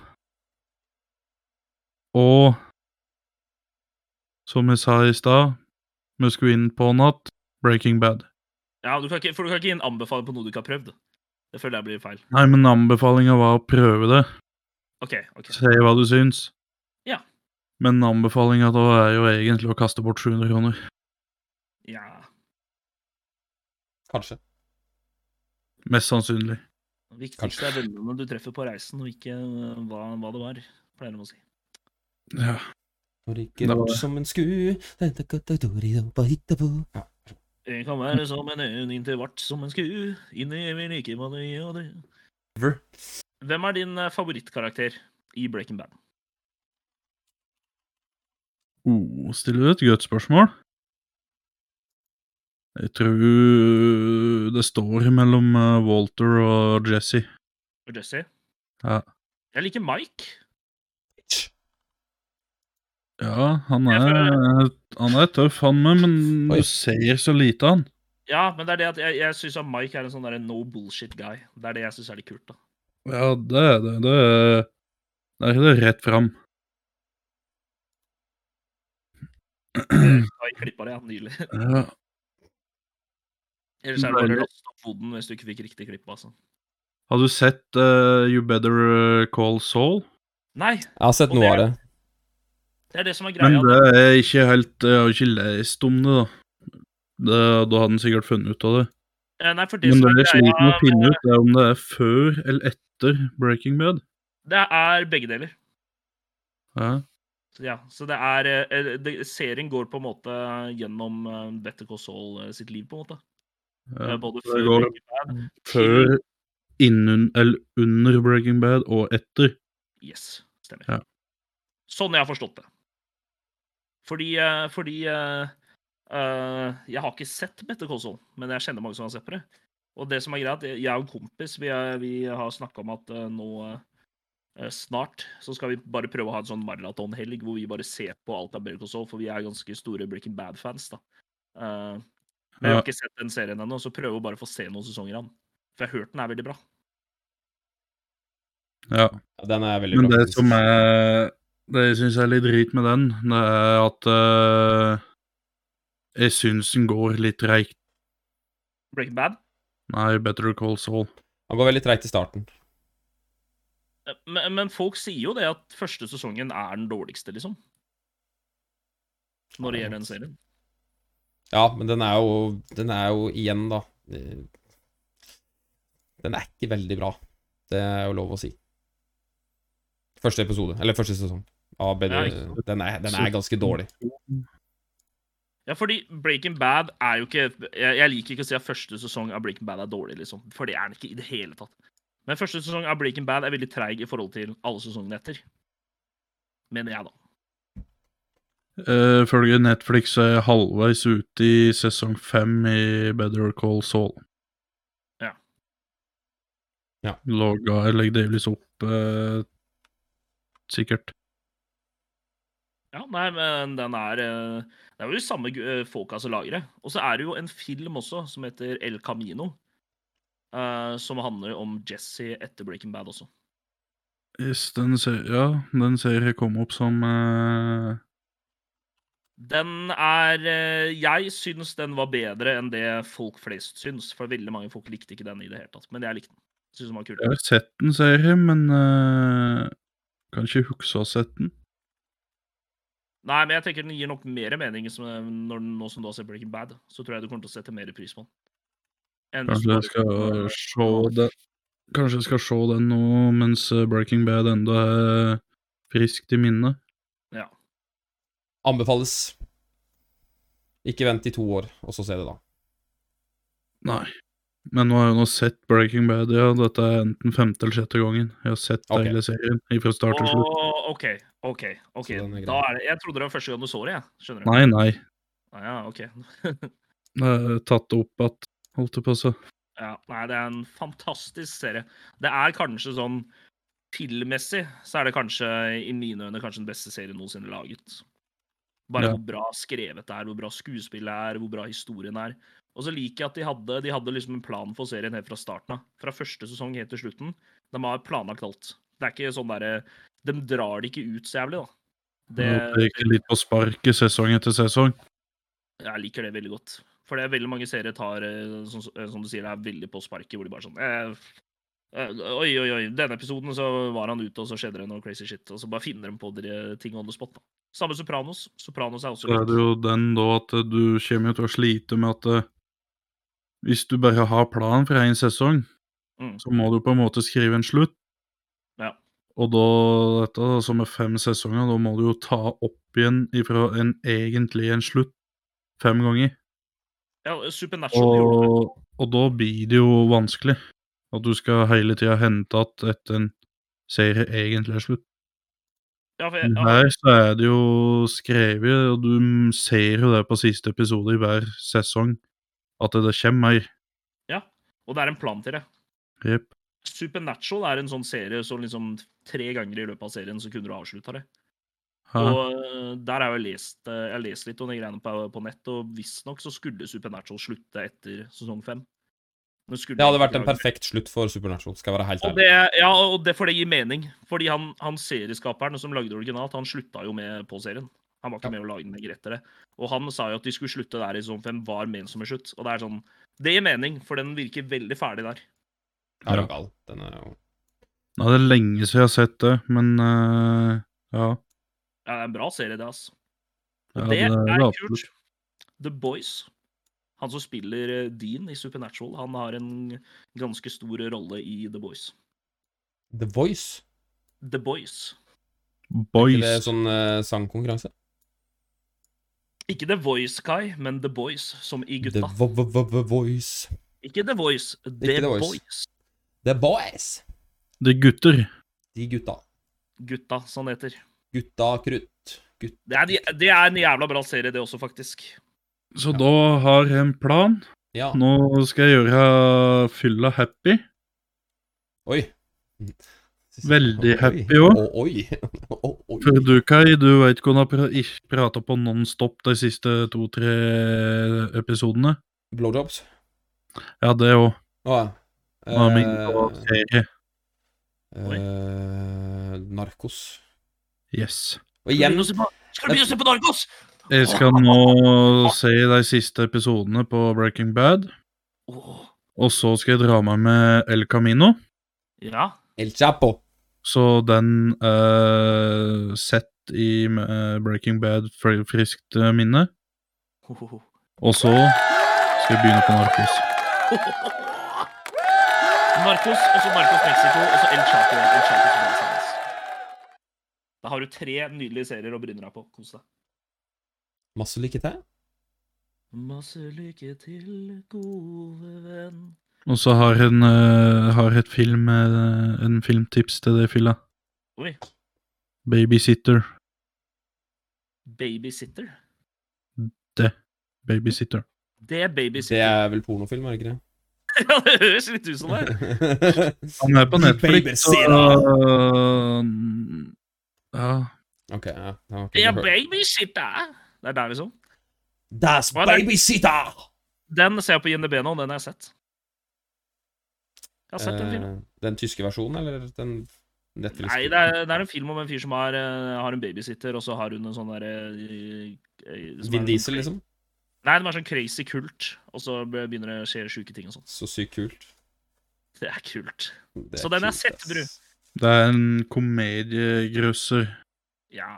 S3: Og som jeg sa i stad, vi skulle inn på natt Breaking Bad.
S2: Ja, du kan ikke, For du kan ikke gi en anbefaling på noe du ikke har prøvd. Det føler jeg blir feil.
S3: Nei, men anbefalinga var å prøve det.
S2: OK. ok.
S3: Se hva du syns.
S2: Ja.
S3: Men anbefalinga da er jo egentlig å kaste bort 700 kroner.
S2: Ja.
S1: Kanskje.
S3: Mest sannsynlig.
S2: Det viktigste er vennene du treffer på reisen, og ikke øh, hva, hva det var, pleier de å si.
S3: Ja.
S1: Når det ikke
S3: Da-
S1: går som en sku ja.
S2: Jeg kan være som en øyn inntil vart som en sku, inni evig like man det og det.
S1: Ver.
S2: Hvem er din øh, favorittkarakter i Breaking Bad?
S3: Oh, stiller du et godt spørsmål? Jeg tror det står mellom eh, Walter og Jesse.
S2: Jesse?
S3: Ja.
S2: Jeg liker Mike.
S3: Ja, han
S2: Jeg
S3: er, han er tøff, han med, men
S1: Oi.
S3: du ser så lite av han.
S2: Ja, men det er det at jeg, jeg syns Mike er en sånn der no bullshit guy. Det er det jeg syns er litt kult. da.
S3: Ja, det er det. Det er, det er det rett fram.
S2: Jeg klippa det ja, nylig.
S3: Ja.
S2: Ellers er det bare å laste opp foden hvis du ikke fikk riktig klipp. altså.
S3: Har du sett eh, You Better Call Saul?
S2: Nei,
S1: Jeg har sett
S2: Og
S1: noe av
S2: det-
S1: det.
S2: det er det som er
S3: Men
S2: greia.
S3: det er ikke helt Jeg har ikke lest om det, da. Det, da hadde han sikkert funnet ut av det.
S2: Eh, Nei, for det
S3: Men
S2: som
S3: det
S2: er
S3: jeg sliter med å
S2: greia,
S3: finne ut, er om det er før eller etter Breaking Bad.
S2: det er begge deler.
S3: Ja.
S2: Så Ja, så det er eh, det, Serien går på en måte gjennom eh, Better Call Saul eh, sitt liv, på en måte.
S3: ja.
S2: Eh, Både
S3: det
S2: før
S3: går-
S2: Breaking Bad
S3: Før, innen eller under Breaking Bad og etter.
S2: Yes, stemmer.
S3: Ja.
S2: Sånn jeg har forstått det. Fordi, eh, fordi eh, eh, Jeg har ikke sett Bette Kåsvold, men jeg kjenner mange som har sett på det. Og det som er greit, jeg og en kompis vi, er, vi har snakka om at eh, nå eh, snart så skal vi bare prøve å ha en sånn maratonhelg hvor vi bare ser på alt av Bette Kåsvold, for vi er ganske store Breaking Bad-fans. da. Eh, men jeg har
S3: Ja.
S2: ikke sett den serien ennå, så prøver vi bare å få se noen sesonger av den. For jeg har hørt den er veldig bra.
S3: Ja.
S1: Ja, Den er veldig
S3: Men
S1: bra.
S3: det
S1: faktisk.
S3: som er Det jeg syns er litt drit med den, det er at eh, Jeg syns den går litt treigt.
S2: Breaking Bad
S3: Nei, Better Call Saul.
S1: Han går veldig treigt i starten.
S2: Men, men folk sier jo det at første sesongen er den dårligste, liksom. Når det gjelder den serien.
S1: Ja, men den er jo Den er jo igjen, da Den er ikke veldig bra. Det er jo lov å si. Første episode, eller første sesong av BD,
S2: Ja, ikke
S1: den, er, den er ganske dårlig.
S2: Ja, fordi Breaking Bad er jo ikke Jeg, jeg liker ikke å si at første sesong av Breaking Bad er dårlig, liksom. For det er den ikke i det hele tatt. Men første sesong av Breaking Bad er veldig treig i forhold til alle sesongene etter. Mener jeg, da.
S3: Uh, Ifølge Netflix er jeg halvveis ute i sesong fem i Better Call Saul.
S2: Ja.
S1: Ja.
S3: Logga jeg legger delvis opp eh, Sikkert.
S2: Ja, nei, men den er eh, Det er jo de samme gu- eh, folka som lager det. Og så er det jo en film også som heter El Camino. eh, som handler om Jesse etter Breaking Bad også.
S3: Yes, den ser, ja, den ser jeg komme opp som eh,
S2: Den er eh, Jeg syns den var bedre enn det folk flest syns. For veldig mange folk likte ikke den i det hele tatt. Men jeg likte den. Syns den var kul.
S3: Jeg har sett den, ser jeg, men eh, kan ikke huske å ha sett den.
S2: Nei, men jeg tenker den gir nok mer mening som, eh, når, den- nå som du har sett Breaking Bad. Så tror jeg du kommer til å sette mer pris på den. Enn hvis du
S3: Kanskje jeg
S2: bare-
S3: skal se den Kanskje jeg skal se den nå mens eh, Breaking Bad enda er friskt i minnet.
S2: Ja.
S1: Anbefales. Ikke vent i to år, og så se det, da.
S3: Nei. Men nå har jeg nå sett Breaking Bad, ja. Dette er enten femte eller sjette gangen. Jeg har sett
S1: Ok.
S3: hele serien fra start til slutt.
S2: Åh, OK, OK. ok.
S1: Så den er grei.
S2: Da er det, jeg trodde det var første gang du så det, jeg. Skjønner du?
S3: Nei, nei.
S2: Ah, Ja, ok.
S3: Det er tatt opp at Holdt det på å si.
S2: Ja, nei, det er en fantastisk serie. Det er kanskje sånn filmmessig så er det kanskje i mine øyne kanskje den beste serien noensinne laget. Bare
S3: Ja.
S2: hvor bra skrevet det er, hvor bra skuespillet er, hvor bra historien er. Og så liker jeg at de hadde, de hadde liksom en plan for serien helt fra starten av. Fra første sesong helt til slutten. De har planlagt alt. Det er ikke sånn derre De drar det ikke ut så jævlig, da.
S3: Det gikk litt på sparket sesong etter sesong.
S2: Jeg liker det veldig godt. For det er veldig mange serier tar, eh, som, som du sier, det er veldig på sparket, hvor de bare sånn eh, eh, Oi, oi, oi, denne episoden så var han ute, og så skjedde det noe crazy shit. Og så bare finner de på dere ting on the spot. da. Samme Sopranos. Sopranos er også
S3: Så er det
S2: litt
S3: jo den da at du kommer jo til å slite med at eh, hvis du bare har plan for én sesong,
S2: Mm.
S3: så må du på en måte skrive en slutt.
S2: Ja.
S3: Og da, dette da, som er fem sesonger, da må du jo ta opp igjen ifra en egentlig en slutt fem ganger.
S2: ja, Supernatural gjorde det.
S3: Og, og da blir det jo vanskelig at du skal hele tida hente att etter en serie egentlig er slutt.
S2: Ja, for jeg,
S3: Men
S2: ja,
S3: Her så er det jo skrevet, og du m- ser jo det på siste episode i hver sesong, at det kommer mer.
S2: og det er en plan til det.
S3: Jep.
S2: Supernatural er en sånn serie så liksom tre ganger i løpet av serien så kunne du avslutta det.
S3: Ja.
S2: Og eh, der har jeg lest, eh, jeg har lest litt om de greiene på, på nett, og visstnok så skulle Supernatural slutte etter sesong fem. Men skulle
S1: Det hadde
S2: ikke
S1: vært en
S2: klare-
S1: perfekt slutt for Supernatural, skal jeg være helt
S2: og
S1: ærlig.
S2: det, ja, og det, for det gir mening. Fordi han, han serieskaperen som lagde det originalt, han slutta jo med på serien. Han var ikke med å lage den lenger etter det. Og han sa jo at de skulle slutte der i sesong fem, var ment som en slutt. Og det er sånn Det gir mening, for den virker veldig ferdig der.
S1: Ja, det er jo gal. Den er jo
S3: Nei, det er lenge siden jeg har sett det, men eh, ja.
S2: Ja, det er en bra serie, det, altså.
S3: ja.
S2: det er
S3: absolutt.
S2: kult. The Boys. Han som spiller eh, Dean i Supernatural, han har en ganske stor rolle i The Boys.
S1: The Voice.
S2: The Boys.
S1: Ikke det
S3: Boys.
S1: sånn eh, sangkonkurranse?
S2: Ikke The Voice, Kai, men The Boys, som i
S1: The
S2: gutta.
S1: vo vo vo vo Voice.
S2: Ikke The Voice, The,
S1: The Voice.
S2: Boys.
S1: The Boys.
S3: Det er gutter.
S1: De gutta.
S2: Gutta, sånn heter.
S1: Gutta krutt. Gutt.
S2: Det er, en- det er en jævla bra serie, det også, faktisk.
S3: Så da har jeg en plan.
S1: Ja.
S3: Nå skal jeg gjøre fylla happy.
S1: Oi.
S3: Veldig
S1: Oi.
S3: happy også.
S1: Å, Oi. Å, Oi.
S3: For du, Kai, du veit hvordan jeg pra- ikke prata på nonstop de siste to-tre episodene?
S1: Blowjobs.
S3: Ja, det òg.
S1: Å ja.
S3: Nå er vi inne på
S1: Eh,
S3: serie.
S2: Oi.
S1: eh, narkos.
S3: Yes.
S1: Og igjen
S2: Skal du begynne å se på- skal du begynne å se på Narkos?
S3: Jeg skal nå se de siste episodene på Breaking Bad.
S2: Åh,
S3: Og så skal jeg dra meg med El Camino.
S2: ja.
S1: El Chapo.
S3: Så den eh, sett i eh, Breaking Bad fri- friskt eh, minne.
S2: Ho, ho, ho.
S3: Og så skal jeg begynne på Narkos.
S2: Narkos, og så Narkos Mexico, og så El Chapo. El Chapo som er seriøs. Da har du tre nydelige serier å bryne deg på. Kos deg.
S1: Masse lykke til.
S2: Masse lykke til, gode venn.
S3: Og så har en eh, har et film eh, en filmtips til det fylla.
S2: Oi.
S3: Babysitter.
S2: Babysitter.
S3: Babysitter.
S2: Det er
S1: Det
S2: babysitter.
S1: er vel pornofilm, er det ikke det?
S2: Ja, det høres litt ut som det.
S3: Han er på
S1: De
S3: Netflix, så Ja.
S1: ok, ja. ja, ok,
S2: Det er
S1: du hører.
S2: babysitter. Det er der, liksom.
S1: Das
S2: Hva er det?
S1: Babysitter!
S2: Den ser jeg på INDB nå, den har jeg sett. Jeg har sett den filmen.
S1: Eh, den tyske versjonen, eller den Netflix?
S2: Nei, det er, det er en film om en fyr som har, eh, har en babysitter, og så har hun en sånn eh, derre
S1: Vin Diesel, liksom?
S2: Nei, det var sånn crazy kult, og så begynner det å skje sjuke ting og sånt.
S1: Så sykt kult.
S2: Det er kult.
S1: Det
S2: Så den er
S1: kult,
S2: sett,
S1: ass.
S2: bru.
S3: Det er en komediegrøsser.
S2: Ja.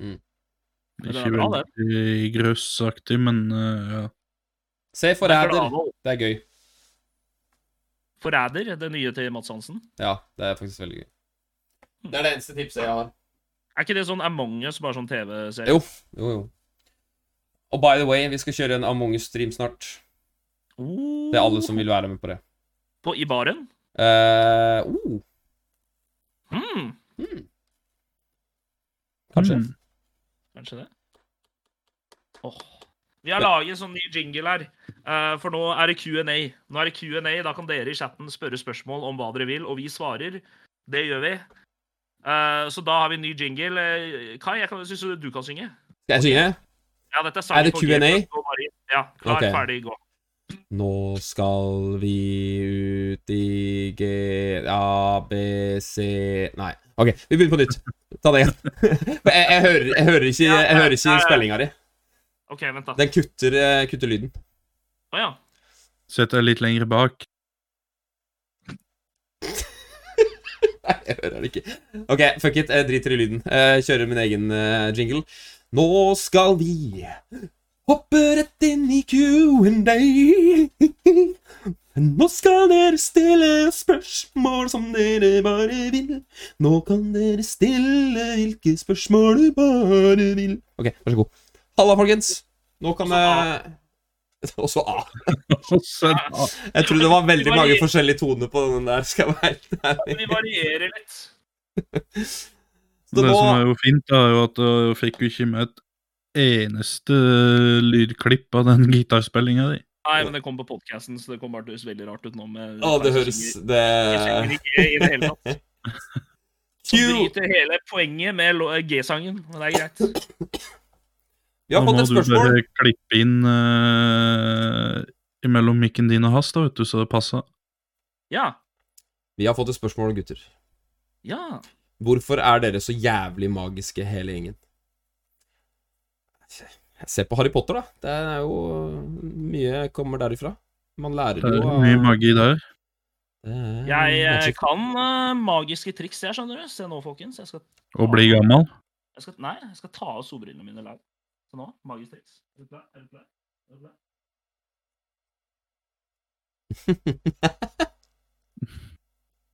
S2: Men den
S3: Ikke
S2: er bra, den.
S3: veldig grøssaktig, men eh, ja.
S1: Se Forræder.
S2: Forræder.
S1: Det er gøy.
S2: Forræder, det nye til Mads Hansen.
S1: Ja, det er faktisk veldig gøy. Det er det eneste tipset jeg har.
S2: Er ikke det sånn Among us, bare sånn TV-serie?
S1: Jo, jo, jo. Og by the way, vi skal kjøre en Among us-stream snart. Det er alle som vil være med på det.
S2: Oh, På, I baren?
S1: Eh, oh,
S2: Hmm,
S1: kanskje.
S3: Mm.
S2: kanskje det. Åh. Vi har laget en sånn ny jingle her, eh, for nå er det Q&A. Nå er det Q&A, Da kan dere i chatten spørre spørsmål om hva dere vil, og vi svarer. Det gjør vi. Eh, så da har vi en ny jingle. Eh, Kai, jeg kan- syns du- du kan synge?
S1: Skal jeg synge?
S2: Ja, dette er,
S1: Er
S2: sangen
S1: det
S2: på
S1: Q&A?
S2: Gearbox, gå bare inn. Ja, klar,
S1: Ok.
S2: ferdig, gå.
S1: Nå skal vi ut i G... A, B, C Nei. OK, vi begynner på nytt. Ta det igjen. For jeg, jeg, hører, jeg hører ikke, jeg hører ikke spillinga di.
S2: OK, vent, da.
S1: Den kutter, eh, kutter lyden.
S2: Å ja.
S3: Sett deg litt lenger bak.
S1: Nei, jeg hører det ikke. OK, fuck it. Jeg driter i lyden. Jeg kjører min egen eh, jingle. Nå skal vi hoppe rett inn i Q&A. Nå skal dere stille spørsmål som dere bare vil. Nå kan dere stille hvilke spørsmål du bare vil. OK, vær så god. Halla, folkens. Nå kan jeg Også A. Jeg tror det var veldig mange forskjellige toner på den der. skal jeg være helt ærlig.
S2: Vi varierer litt.
S1: Så
S3: det
S1: nå-
S3: som er jo fint, da, er jo at jeg fikk jo ikke med et eneste lydklipp av den gitarspillinga di.
S2: Nei, men det kom på podkasten, så det kom bare til å høres veldig rart ut nå med
S1: Å, det høres
S2: Jeg synger
S1: det...
S2: ikke i det hele tatt.
S1: Eh,
S2: Så
S1: Q!
S2: bryter hele poenget med lo- eh, G-sangen, men det er greit.
S1: Vi har
S3: Nå
S1: fått
S3: må
S1: et
S3: du
S1: spørsmål.
S3: bare klippe inn eh, imellom mikken din og hans, da, vet du, så det passer.
S2: Ja.
S1: Vi har fått et spørsmål, gutter.
S2: Ja.
S1: Hvorfor er dere så jævlig magiske, hele gjengen? Se på Harry Potter, da. Det er jo Mye kommer derifra. Man lærer
S3: Det er
S1: jo av-
S3: mye magi der.
S1: Det er
S2: Jeg eh,
S1: magic.
S2: kan eh, magiske triks, jeg, skjønner du. Se nå, folkens. Jeg skal,
S3: Å bli gammel.
S2: jeg skal, nei, jeg skal ta av solbrillene mine live. Så nå, magisk triks. Er du klar? Er du klar? Er du klar?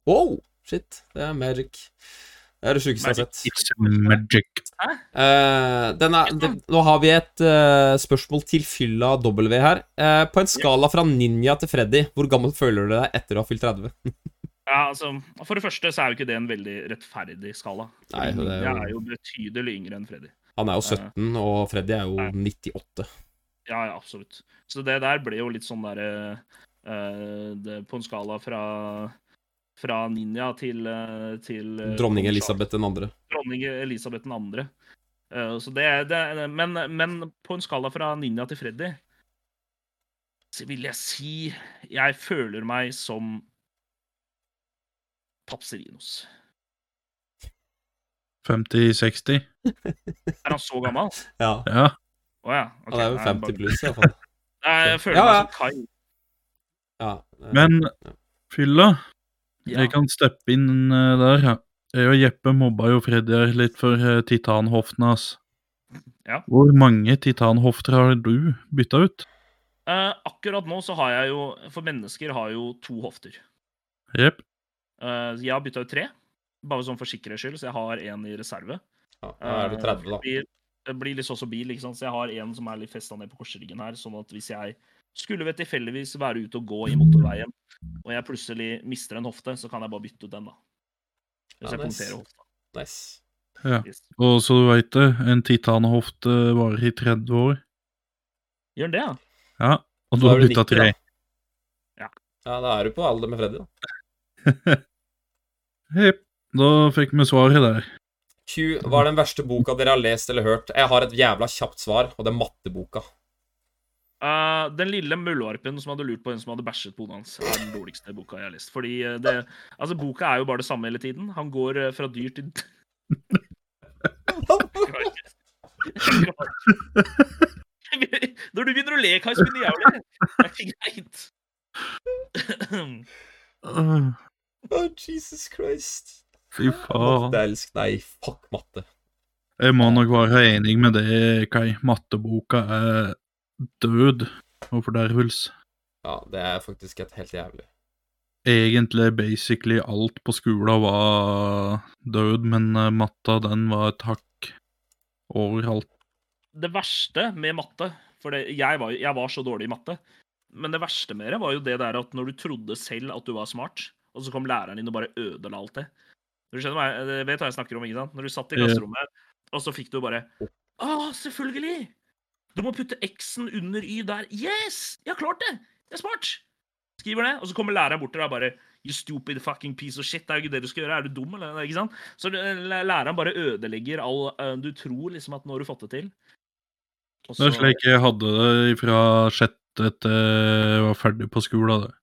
S1: Wow! Shit. Det er magic. Det er det sjukeste jeg har sett.
S3: It's magic.
S1: Eh, den er, det, nå har vi et eh, spørsmål til fylla W her. Eh, på en skala fra ninja til Freddy, hvor gammel føler du deg etter å ha fylt 30?
S2: Ja, altså, For det første så er jo ikke det en veldig rettferdig skala.
S1: Nei, det er
S2: Jeg
S1: jo,
S2: er jo betydelig yngre enn Freddy.
S1: han er jo 17, og Freddy er jo
S2: Nei.
S1: 98.
S2: Ja, ja, absolutt. Så det der ble jo litt sånn derre eh, det- På en skala fra, fra ninja til, eh, til eh,
S1: Dronning Elisabeth den andre.
S2: Dronning Elisabeth den andre. Eh, så det, det men, men på en skala fra ninja til Freddy så vil jeg si jeg føler meg som Papserinos.
S3: 50-60.
S2: Er han så gammel?
S1: Ja.
S3: Ja.
S2: Å ja.
S1: Han
S2: ok,
S1: er jo
S2: nei,
S1: 50
S2: bare-
S1: pluss, iallfall.
S2: Nei, Jeg føler
S1: Ja, ja.
S2: meg som Kai.
S1: Ja. eh,
S3: Men fylla,
S2: Ja.
S3: jeg kan steppe inn eh, der, ja. Jeg og Jeppe mobba jo Freddy her litt for eh, titanhoftene hans.
S2: Ja.
S3: Hvor mange titanhofter har du bytta ut?
S2: Eh, akkurat nå så har jeg jo For mennesker har jo to hofter.
S3: Jepp.
S2: Eh, jeg har bytta ut tre, bare sånn for sikkerhets skyld, så jeg har én i reserve. Eh,
S1: ja, da er du 30, da.
S2: Blir, det blir litt sånn som bil, ikke sant? så jeg har en som er litt festa ned på korsryggen her, sånn at hvis jeg skulle ved tilfeldigvis være ute og gå i motorveien, og jeg plutselig mister en hofte, så kan jeg bare bytte ut den, da.
S1: Ja,
S2: Hvis jeg
S1: nice.
S2: punkterer hofta.
S1: Nice.
S2: Yes.
S3: Og så du veit det, en titanhofte varer i 30 år.
S2: Gjør den det, ja?
S3: Ja. Og
S1: Da
S3: du
S1: er
S3: har
S1: du
S3: bytta
S1: 90, da.
S3: tre.
S1: Ja, da er du på alder med Freddy, da.
S3: Jepp. Da fikk vi svaret der.
S1: Q, hva er den verste boka dere har lest eller hørt? Jeg har et jævla kjapt svar, og det er matteboka.
S2: Eh, den lille muldvarpen som hadde lurt på hvem som hadde bæsjet på hodet hans, er den dårligste boka jeg har lest. Fordi eh, det, altså, boka er jo bare det samme hele tiden. Han går eh, fra dyr til
S1: Oh,
S2: Jeg klarer ikke. Jeg klarer ikke. Når du begynner å le, Kai, så begynner jeg å le. Det er ikke greit.
S3: Åh,
S1: Oh, Jesus Christ.
S3: Fy faen.
S1: Matteelsk. Nei, fuck matte.
S3: Jeg må nok være enig med det, Kai. Matteboka er død og fordervelse.
S1: Ja, det er faktisk et helt jævlig.
S3: Egentlig basically alt på skolen var død, men eh, matta den var et hakk overalt.
S2: Det verste med matte For det, jeg, var, jo- jeg var så dårlig i matte. Men det verste med det var jo det der at når du trodde selv at du var smart, og så kom læreren din og bare ødela alt det. Du skjønner meg, det vet hva jeg snakker om, ikke sant? Når du satt i
S3: Ja.
S2: klasserommet, og så fikk du bare Å, selvfølgelig! Du må putte X-en under Y der. Yes! Jeg har klart det! Jeg er smart! Skriver det, og så kommer læreren bort til deg og bare You stupid fucking piece of shit. Det er jo ikke det du skal gjøre. Er du dum, eller? Ikke sant? Så du- læreren bare ødelegger all eh, Du tror liksom at nå har du fått det til. Og
S3: Det er
S2: så-
S3: slik jeg hadde det fra sjette til jeg var ferdig på skolen. Det.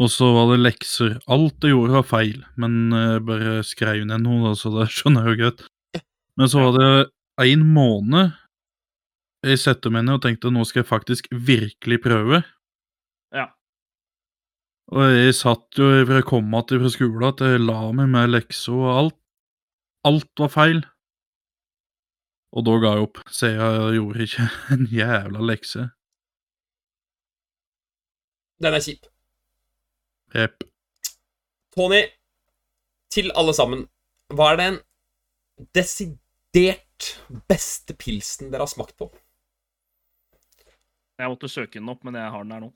S3: Og så var det lekser. Alt jeg gjorde var feil, men jeg bare skrev ned noe, da, så det skjønner jeg jo greit. Men så var det en måned jeg satte meg ned og tenkte nå skal jeg faktisk virkelig prøve.
S2: Ja.
S3: Og jeg satt jo fra jeg kom igjen fra skolen at jeg la meg med lekser og alt. Alt var feil. Og da ga jeg opp. Så jeg gjorde ikke en jævla lekse.
S1: Den er kjip.
S3: Jepp.
S1: Tony, til alle sammen. Hva er den desidert beste pilsen dere har smakt på?
S2: Jeg måtte søke den opp, men jeg har den her nå.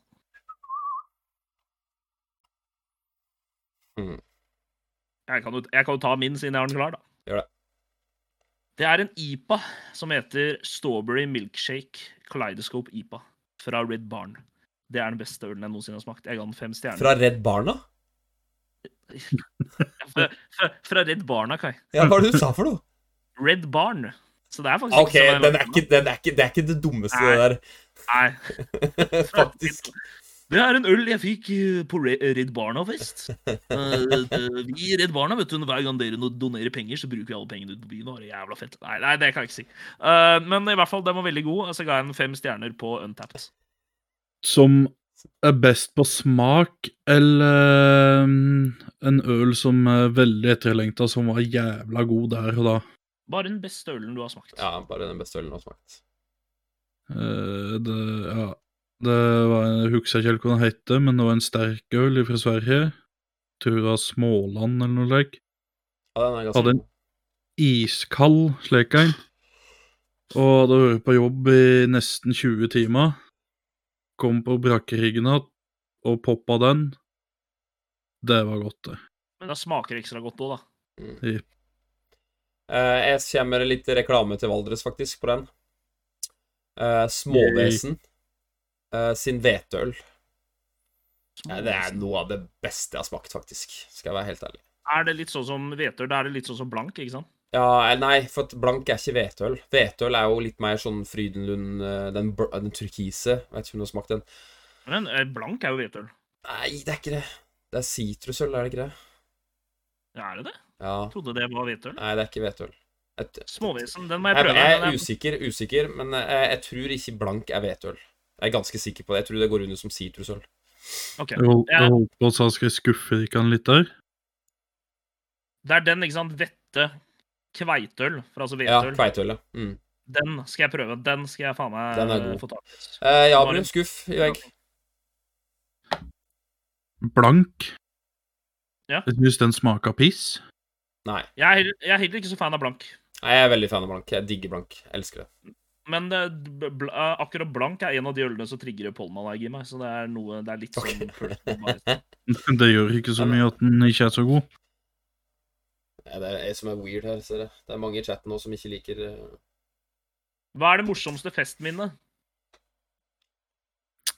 S1: Mm.
S2: Jeg, kan jo, jeg kan jo ta min siden jeg har den klar, da.
S1: Gjør det.
S2: Det er en IPA som heter Strawberry Milkshake Kaleidoscope IPA fra Red Barn. Det er den beste ølen jeg noensinne har smakt. Jeg ga den fem stjerner.
S1: Fra Redd Barna?
S2: Fra, fra, fra Red Barna, Kai.
S1: Ja, hva er det du sa for noe?
S2: Red Barn. Så det er faktisk
S1: OK,
S2: ikke så
S1: den er ikke, den er ikke, det er ikke det dummeste, det
S2: Nei.
S1: der. Faktisk.
S2: Det er en øl jeg fikk eh, på Re- Redd Barna-fest. Eh, eh, Vi i Redd Barna, vet du, hver gang dere no- donerer penger, så bruker vi alle pengene ute på byen. og har Det jævla fett. Nei, nei, det kan jeg ikke si. Eh, Men i hvert fall, den var veldig god, og så ga jeg den fem stjerner på Untapped.
S3: Som er best på smak, eller mm, en øl som er veldig etterlengta, som var jævla god der og da.
S2: Bare den beste ølen du har smakt.
S1: Ja, bare den beste ølen jeg har smakt.
S3: Eh, det, ja. det var Jeg husker ikke helt hva den het, men det var en sterk øl fra Sverige. Tror det var Småland eller noe slikt.
S1: Ja, den er
S3: Ja,
S1: ganske
S3: den- Iskald slik en. Og da var jeg på jobb i nesten 20 timer. Kom på brakkeriggen igjen og poppa den. Det var godt, det.
S2: Men da smaker det ekstra godt òg, da.
S1: Eh, jeg kommer med litt reklame til Valdres, faktisk, på den. Eh, Småvesen eh, sin hveteøl. Ja, det er noe av det beste jeg har smakt, faktisk. Skal jeg være helt ærlig.
S2: Er det litt sånn som hvetøl? Da er det litt sånn som blank, ikke sant?
S1: Ja, eh, nei, for at blank er ikke hveteøl. Hveteøl er jo litt mer sånn Frydenlund eh, Den, br- den turkise. Vet ikke om du har smakt den.
S2: Men eh, blank er jo hvetøl.
S1: Nei, det er ikke det. Det er sitrusøl, er det ikke det?
S2: Ja, Er det det?
S1: Ja.
S2: Jeg trodde det var hvetøl.
S1: Nei, det er ikke hveteøl. Jeg,
S2: Småvesen, den må jeg
S1: jeg,
S2: prøve.
S1: jeg
S2: Den
S1: er usikker, usikker, men eh, jeg, jeg tror ikke blank er hveteøl. Jeg er ganske sikker på det. Jeg tror det går under som sitrusøl.
S2: Ok.
S3: Jeg holdt,
S2: Ja.
S3: jeg holdt på å sa skal jeg skuffe dere han litt der.
S2: Det er den, ikke sant? Vette kveitøl. For altså
S1: Ja,
S2: hvetøl.
S1: kveiteøl, ja. Mm.
S2: Den skal jeg prøve. Den skal jeg faen meg
S1: Den er god.
S2: få tak i.
S1: Eh, ja,
S2: Bare-
S1: brun skuff i vegg.
S3: Blank.
S2: Ja.
S3: Jeg syns den smaker piss.
S1: Nei.
S2: Jeg er, heller- jeg er heller ikke så fan av blank.
S1: Nei, jeg er veldig fan av blank. Jeg digger blank. Jeg elsker det.
S2: Men det, b- bl eh, akkurat blank er en av de ølene som trigger pollenallergi i meg. Så det er noe Det er litt
S1: Ok.
S2: sånn personal bias.
S3: Det gjør ikke så mye at den ikke er så god.
S1: Ja, det er jeg som er weird her, ser jeg. Det er mange i chatten nå som ikke liker eh,
S2: Hva er det morsomste festminnet?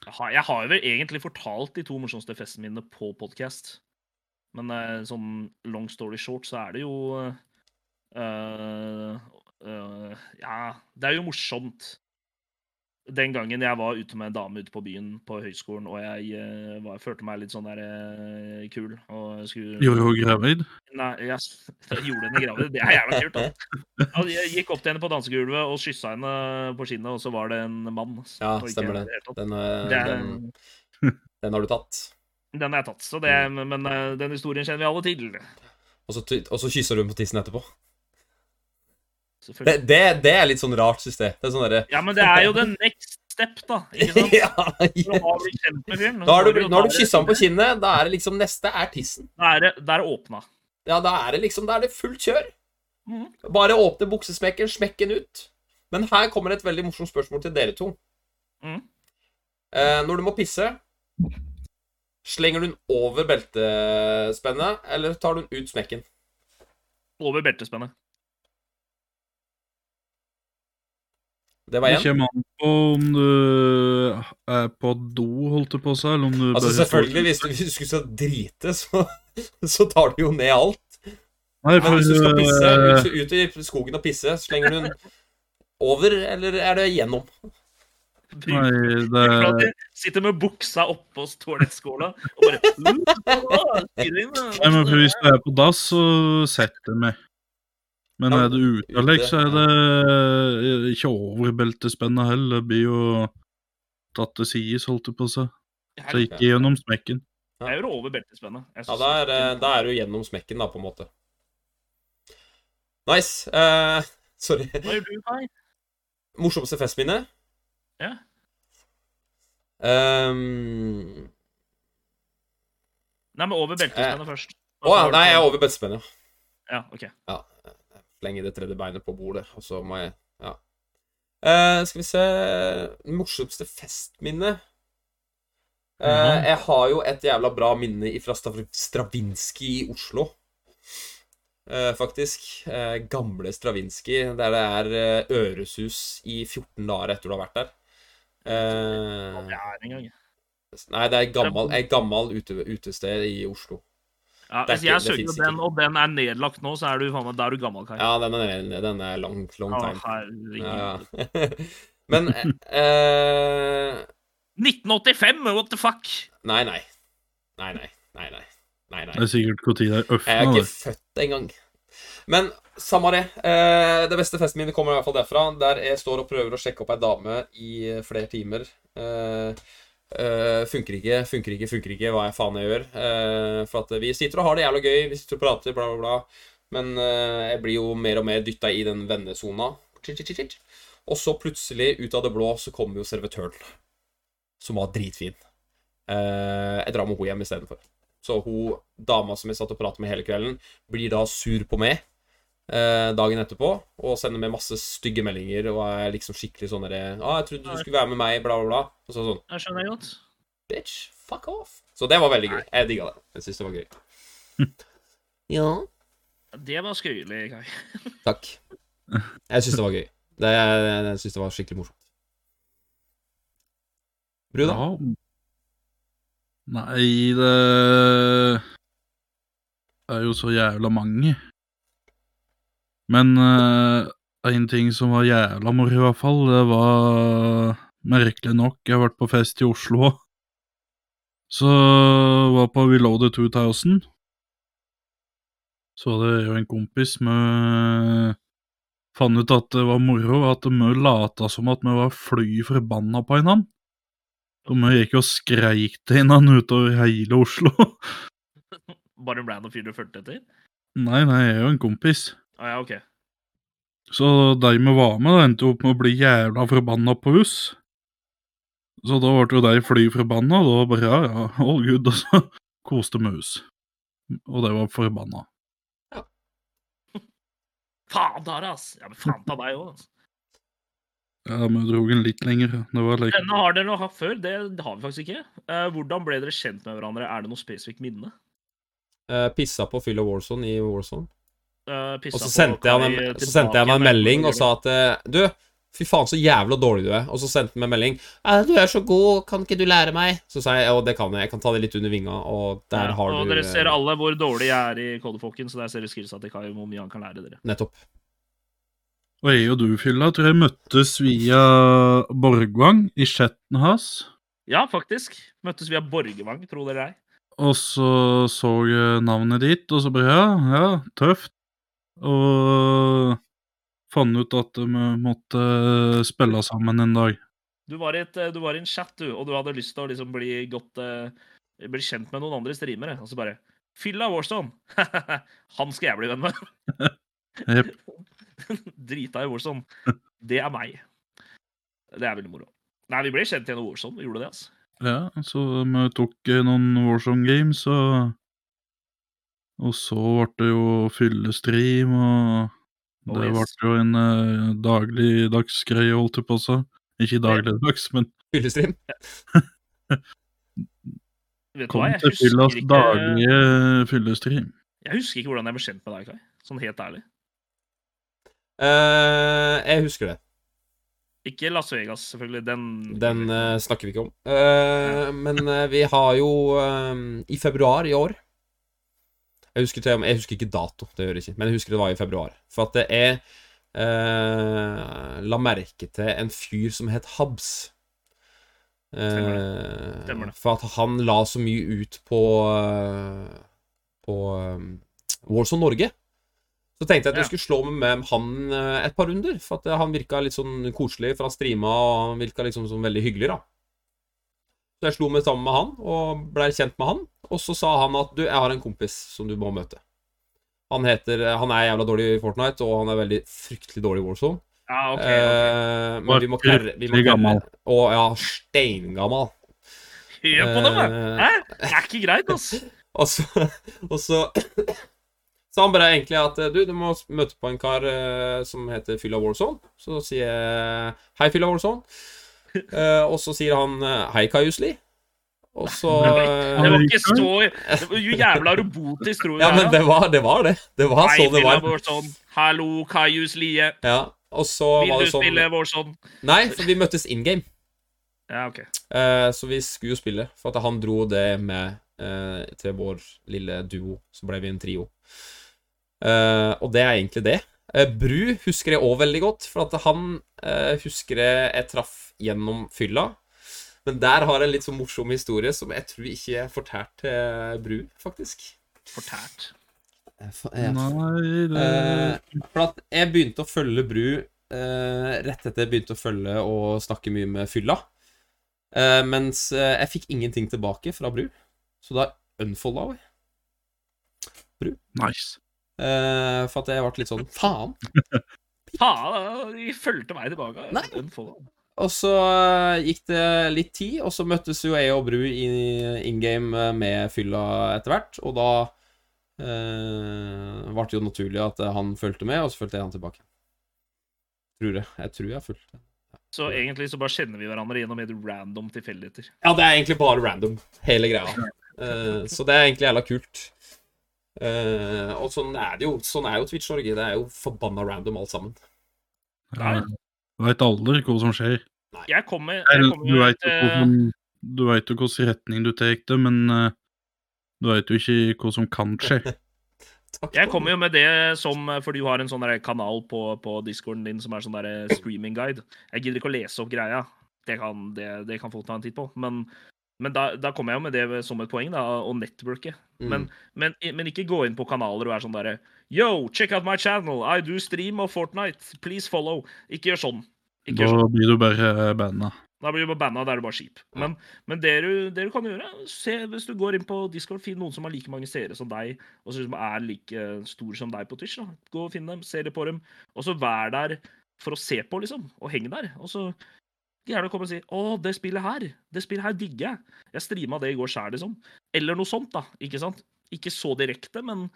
S2: Jeg har- Jeg har jo vel egentlig fortalt de to morsomste festminnene på podkast. Men eh, sånn long story short, så er det jo eh, eh, Ja, det er jo morsomt. Den gangen jeg var ute med en dame ute på byen på høyskolen, og jeg eh, var, følte meg litt sånn der eh, kul og skulle
S3: Gjorde hun gravid?
S2: Nei, jeg s- jeg gjorde henne gravid. Det er jævla kult. da. Ja, Jeg gikk opp til henne på dansegulvet og kyssa henne på kinnet, og så var det en mann. s-
S1: Ja,
S2: og ikke
S1: stemmer
S2: en-
S1: det.
S2: i hele tatt.
S1: den, eh,
S2: Det er-
S1: den. Den har du tatt.
S2: Den er tatt, så det,
S1: Mm.
S2: men eh, den historien kjenner vi alle til.
S1: Og så, ty- og så kysser du den på tissen etterpå. Det,
S2: Selvfølgelig.
S1: det, det er litt sånn rart system. Det er sånn derre
S2: Ja, men det er jo the next step, da. Ikke sant?
S1: ja,
S2: Når du
S1: ja.
S2: har blitt kjent med fyren,
S1: Nå har
S2: så
S1: du,
S2: må
S1: blitt- nå har
S2: ta
S1: du
S2: det-
S1: kyssa den på kinnet. Da er det liksom Neste er tissen.
S2: Da er det- da er det åpna.
S1: Ja, da er det liksom Da er det fullt kjør.
S2: Mhm.
S1: Bare åpne buksesmekken, smekk den ut. Men her kommer et veldig morsomt spørsmål til dere to.
S2: Mhm.
S1: Eh, Eh, når du må pisse, slenger du den over beltespennet, eller tar du den ut smekken?
S2: Over beltespennet.
S1: Det var
S3: Det
S1: én.
S3: kommer an på om du er på do, holdt det på å si, eller om du
S1: Altså,
S3: bare
S1: selvfølgelig, hvis du, hvis du skulle så drite, så, så tar du jo ned alt.
S3: Nei,
S1: Men
S3: for,
S1: hvis du skal pisse,
S3: eh,
S1: ut, ut i skogen og pisse, slenger du den over, eller er det gjennom?
S3: Nei, eh, det
S2: For at de Sitter med buksa oppå toalettskåla og bare «Åh, skriv inn, da».
S3: Nei, men for hvis du er på dass, så setter jeg meg. Men
S1: Ja,
S3: er du ute, Alex, så er det eh, ikke over beltespennet heller. Det blir jo tatt til sides, holdt det på å si. Så
S2: Helvete,
S3: ikke gjennom smekken.
S2: Jeg gjør over beltespennet.
S1: Ja,
S2: Jeg synes-
S1: da er, eh, da er du gjennom smekken, da, på en måte. Nice. Eh, sorry.
S2: Hva gjør du, Kai?
S1: Morsomste festminne?
S2: Ja.
S1: Ehm,
S2: Nei, men over beltespennet først.
S1: Eh, Å ja, nei, jeg er over beltespennet.
S2: Ja, ok.
S1: Ja. Jeg Slenger det tredje beinet på bordet, og så må jeg Ja. Eh, skal vi se Morsomste festminne? Eh,
S3: Mhm.
S1: Jeg har jo et jævla bra minne fra Stravinskij i Oslo. Eh, faktisk. Eh, gamle Stravinskij, der det er eh, øresus i 14 dager etter du har vært der. Eh,
S2: Det er en gang.
S1: Nei, det er et gammel, et gammel ute, utested i Oslo.
S2: Ja,
S1: Det er ikke-
S2: hvis jeg
S1: det finnes
S2: søker
S1: ikke.
S2: den, og den er nedlagt nå, så er du, faen, meg- da er du gammel, Kai.
S1: Ja, den er, den er long, long
S2: Å,
S1: time.
S2: herregud.
S1: Ja, ja. Men eh,
S2: 1985, what the fuck?
S1: Nei, nei. Nei, nei. Nei, nei. nei,
S3: Det
S1: nei.
S3: er sikkert når det er
S1: Jeg er
S3: øfna.
S1: ikke født engang. Men samme det. Eh, det beste festen min kommer i hvert fall derfra. Der jeg står og prøver å sjekke opp ei dame i flere timer. Eh, eh, funker ikke, funker ikke, funker ikke, hva jeg faen jeg gjør. Eh, for at vi sitter og har det jævla gøy, vi sitter og prater, bla, bla, bla. Men eh, jeg blir jo mer og mer dytta i den vennesona. Chit, chit, chit, chit. Og så plutselig, ut av det blå, så kommer jo servitøren. Som var dritfin. Eh, jeg drar med henne hjem istedenfor. Så hun dama som jeg satt og pratet med hele kvelden, blir da sur på meg eh, dagen etterpå og sender meg masse stygge meldinger og er liksom skikkelig sånn derre ah, 'Jeg trodde du skulle være med meg', bla, bla, bla. Og så sånn
S2: Jeg skjønner jeg godt.
S1: Bitch, fuck off. Så det var veldig gøy. Jeg digga det. Jeg syns det var gøy. ja.
S2: Det var skøyelig, Kai.
S1: Takk. Jeg syns det var gøy. Det, jeg jeg syns det var skikkelig morsomt. Bru, da?
S3: Ja. Nei, det er jo så jævla mange. Men én ting som var jævla moro, i hvert fall, det var merkelig nok Jeg har vært på fest i Oslo òg. Så var på Reloaded 2000. Så var det jo en kompis med Fant ut at det var moro at vi lata som at vi var fly forbanna på hverandre. Og vi gikk jo og skreik til hverandre utover hele Oslo.
S2: Bare en random fyr du fulgte etter?
S3: Nei, nei, jeg er jo en kompis.
S2: Ah, ja, ok.
S3: Så de vi var med, da, endte jo opp med å bli jævla forbanna på oss. Så da ble jo de fly forbanna, og da bare ja, ja, all good, og så koste vi oss. Og de var forbanna.
S2: Faen ta det, ass! Ja, men faen ta deg òg, ass.
S3: Ja, vi dro den litt lenger. Det var like
S2: Denne har dere noe hatt før. Det har vi faktisk ikke. Eh, hvordan ble dere kjent med hverandre? Er det noe spesifikt minne?
S1: Eh, pissa på fyll av Warzone i Warzone.
S2: Eh, pissa
S1: Og så
S2: på
S1: sendte jeg
S2: Kai
S1: han en, så
S2: tilbake
S1: sendte jeg han en
S2: igjen,
S1: melding og
S2: eller?
S1: sa at eh, Du, fy faen så jævla dårlig du er. Og så sendte han meg en melding. «Eh, Du er så god, kan ikke du lære meg? Så sa jeg jo, det kan jeg. Jeg kan ta det litt under vinga, og der
S2: Ja,
S1: har
S2: og
S1: du
S2: dere
S1: eh,
S2: ser alle hvor dårlig jeg er i Kodefolken, så der ser dere skillsa til Kai om hvor mye han kan lære dere.
S1: Nettopp.
S3: Og jeg og du, Fylla, tror jeg møttes via Borgvang, i chatten hans.
S2: Ja, faktisk. Møttes via Borgervang, tro det eller ei.
S3: Og så så jeg navnet ditt, og så bare ja, ja, tøft. Og fant ut at vi måtte spille sammen en dag.
S2: Du var, i et, eh, du var i en chat, du, og du hadde lyst til å liksom bli godt eh, Bli kjent med noen andre streamere, og så bare Fylla Warstone! Han skal jeg bli venn med!
S3: Jep.
S2: Drita i Warstone. Det er meg. Det er veldig moro. Nei, vi ble kjent gjennom Warstone. Vi gjorde det, altså.
S3: Ja, så vi tok eh, noen Warzone Games, og, og så ble det jo fyllestream, og
S2: Oh,
S3: det ble
S2: yes.
S3: jo en eh, dagligdagsgreie, holdt jeg på å si. Ikke dagligdags, men
S1: Fyllestream.
S2: Vet du hva,
S3: Kom
S2: jeg
S3: til
S2: husker,
S3: fyllas
S2: ikke,
S3: daglige fyllestream.
S2: jeg husker ikke hvordan jeg ble kjent med deg, Kai. Sånn helt ærlig.
S1: Eh, jeg husker det.
S2: Ikke Las Vegas, selvfølgelig. Den,
S1: Den eh, snakker vi ikke om. Eh, men eh, vi har jo eh, I februar i år jeg husker, til, og med- jeg husker ikke dato, det gjør jeg ikke, men jeg husker det var i februar. For at det er eh, La merke til en fyr som het Habs. Eh,
S2: Stemmer Stemmer det.
S1: For at han la så mye ut på eh, På eh, Warzone Norge. Så tenkte jeg at jeg
S2: Ja.
S1: skulle slå meg med han eh, et par runder. For at eh, han virka litt sånn koselig, for han streama og han virka liksom sånn veldig hyggelig, da. Så jeg slo meg sammen med han og blei kjent med han. Og så sa han at du, jeg har en kompis som du må møte. Han heter eh, Han er jævla dårlig i Fortnite, og han er veldig fryktelig dårlig i Warzone.
S2: Ja, ok. ok.
S1: Eh, men vi må klerre vi må
S3: Fryktelig
S1: klerre-
S3: gammel.
S1: Å ja, steingammal.
S2: Hør på dem, da!
S1: eh,
S2: Hæ? Det er ikke greit, ass.
S1: Og så, og så sa han bare egentlig at eh, du, du må møte på en kar eh, som heter Fylla Warzone. Så sier jeg hei, Fylla Warzone. Eh, og så sier han eh, hei, Kai Husli. Og så eh,
S2: Det var ikke så det var Jo jævla robotisk, tror jeg.
S1: Ja, men det var det. Var det. det var sånn det var.
S2: Hallo, Kaius Lie.
S1: Ja, og så var
S2: Vil
S1: det
S2: du
S1: sånn
S2: spille Warzone?
S1: Nei, for vi møttes in game.
S2: Ja, OK.
S1: Eh, så vi skulle jo spille, for at han dro det med eh, til vår lille duo. Så ble vi en trio. Eh, og det er egentlig det. Eh, Bru husker jeg òg veldig godt, for at han eh, husker jeg jeg traff gjennom fylla. Men der har jeg en litt så morsom historie som jeg tror ikke jeg fortalte til Bru, faktisk.
S2: Fortært.
S3: Nei, det
S1: Eh, for at jeg begynte å følge Bru eh, rett etter jeg begynte å følge og snakke mye med Fylla. Eh, mens eh, jeg fikk ingenting tilbake fra Bru, så da unfolda jeg.
S3: Nice.
S1: Eh, for at jeg ble litt sånn faen.
S2: Faen, de fulgte meg tilbake.
S1: Nei.
S2: Den får-
S1: Og så eh, gikk det litt tid, og så møttes jo jeg og Bru i in game eh, med Fylla etter hvert, og da eh, ble det jo naturlig at eh, han fulgte med, og så fulgte jeg han tilbake. Tror jeg. Jeg tror jeg fulgte.
S2: Så egentlig så bare kjenner vi hverandre gjennom helt random tilfeldigheter.
S1: Ja, det er egentlig bare random, hele greia. Eh, så det er egentlig jævla kult. Eh, og sånn er det jo. Sånn er jo Twitch Norge. Det er jo forbanna random alt sammen.
S2: Nei.
S3: Veit aldri hva som skjer.
S2: Jeg kommer jeg
S3: Eller,
S2: kommer
S3: Du
S2: jo
S3: veit
S2: et,
S3: jo
S2: eh,
S3: hvordan- du vet jo hvilken retning du tar det, men eh, du veit jo ikke hva som kan skje.
S1: Takk.
S2: Jeg kommer jo med det som For du har en sånn der kanal på, på discorden din som er sånn der streaming guide. Jeg gidder ikke å lese opp greia. Det kan, det, det kan folk ta en titt på. Men, men da, da kommer jeg jo med det som et poeng, da, å networke.
S1: Mm.
S2: Men, men, men ikke gå inn på kanaler og være sånn derre Yo, check out my channel. I do stream of Fortnite. Please follow. Ikke gjør sånn. Ikke gjør sånn.
S3: Da blir du bare banna.
S2: Da blir du bare banna, da er du bare skip. Men, men det, du, det du kan gjøre, se hvis du går inn på Discord, finn noen som har like mange seere som deg, og som er like stor som deg på Twitch. da. Gå og finn dem, se litt på dem, og så vær der for å se på, liksom. Og heng der. Og så gjerne komme og si 'Å, det spillet her, det spillet her digger jeg'. Jeg streama det i går sjæl, liksom. Eller noe sånt, da. Ikke sant? Ikke så direkte, men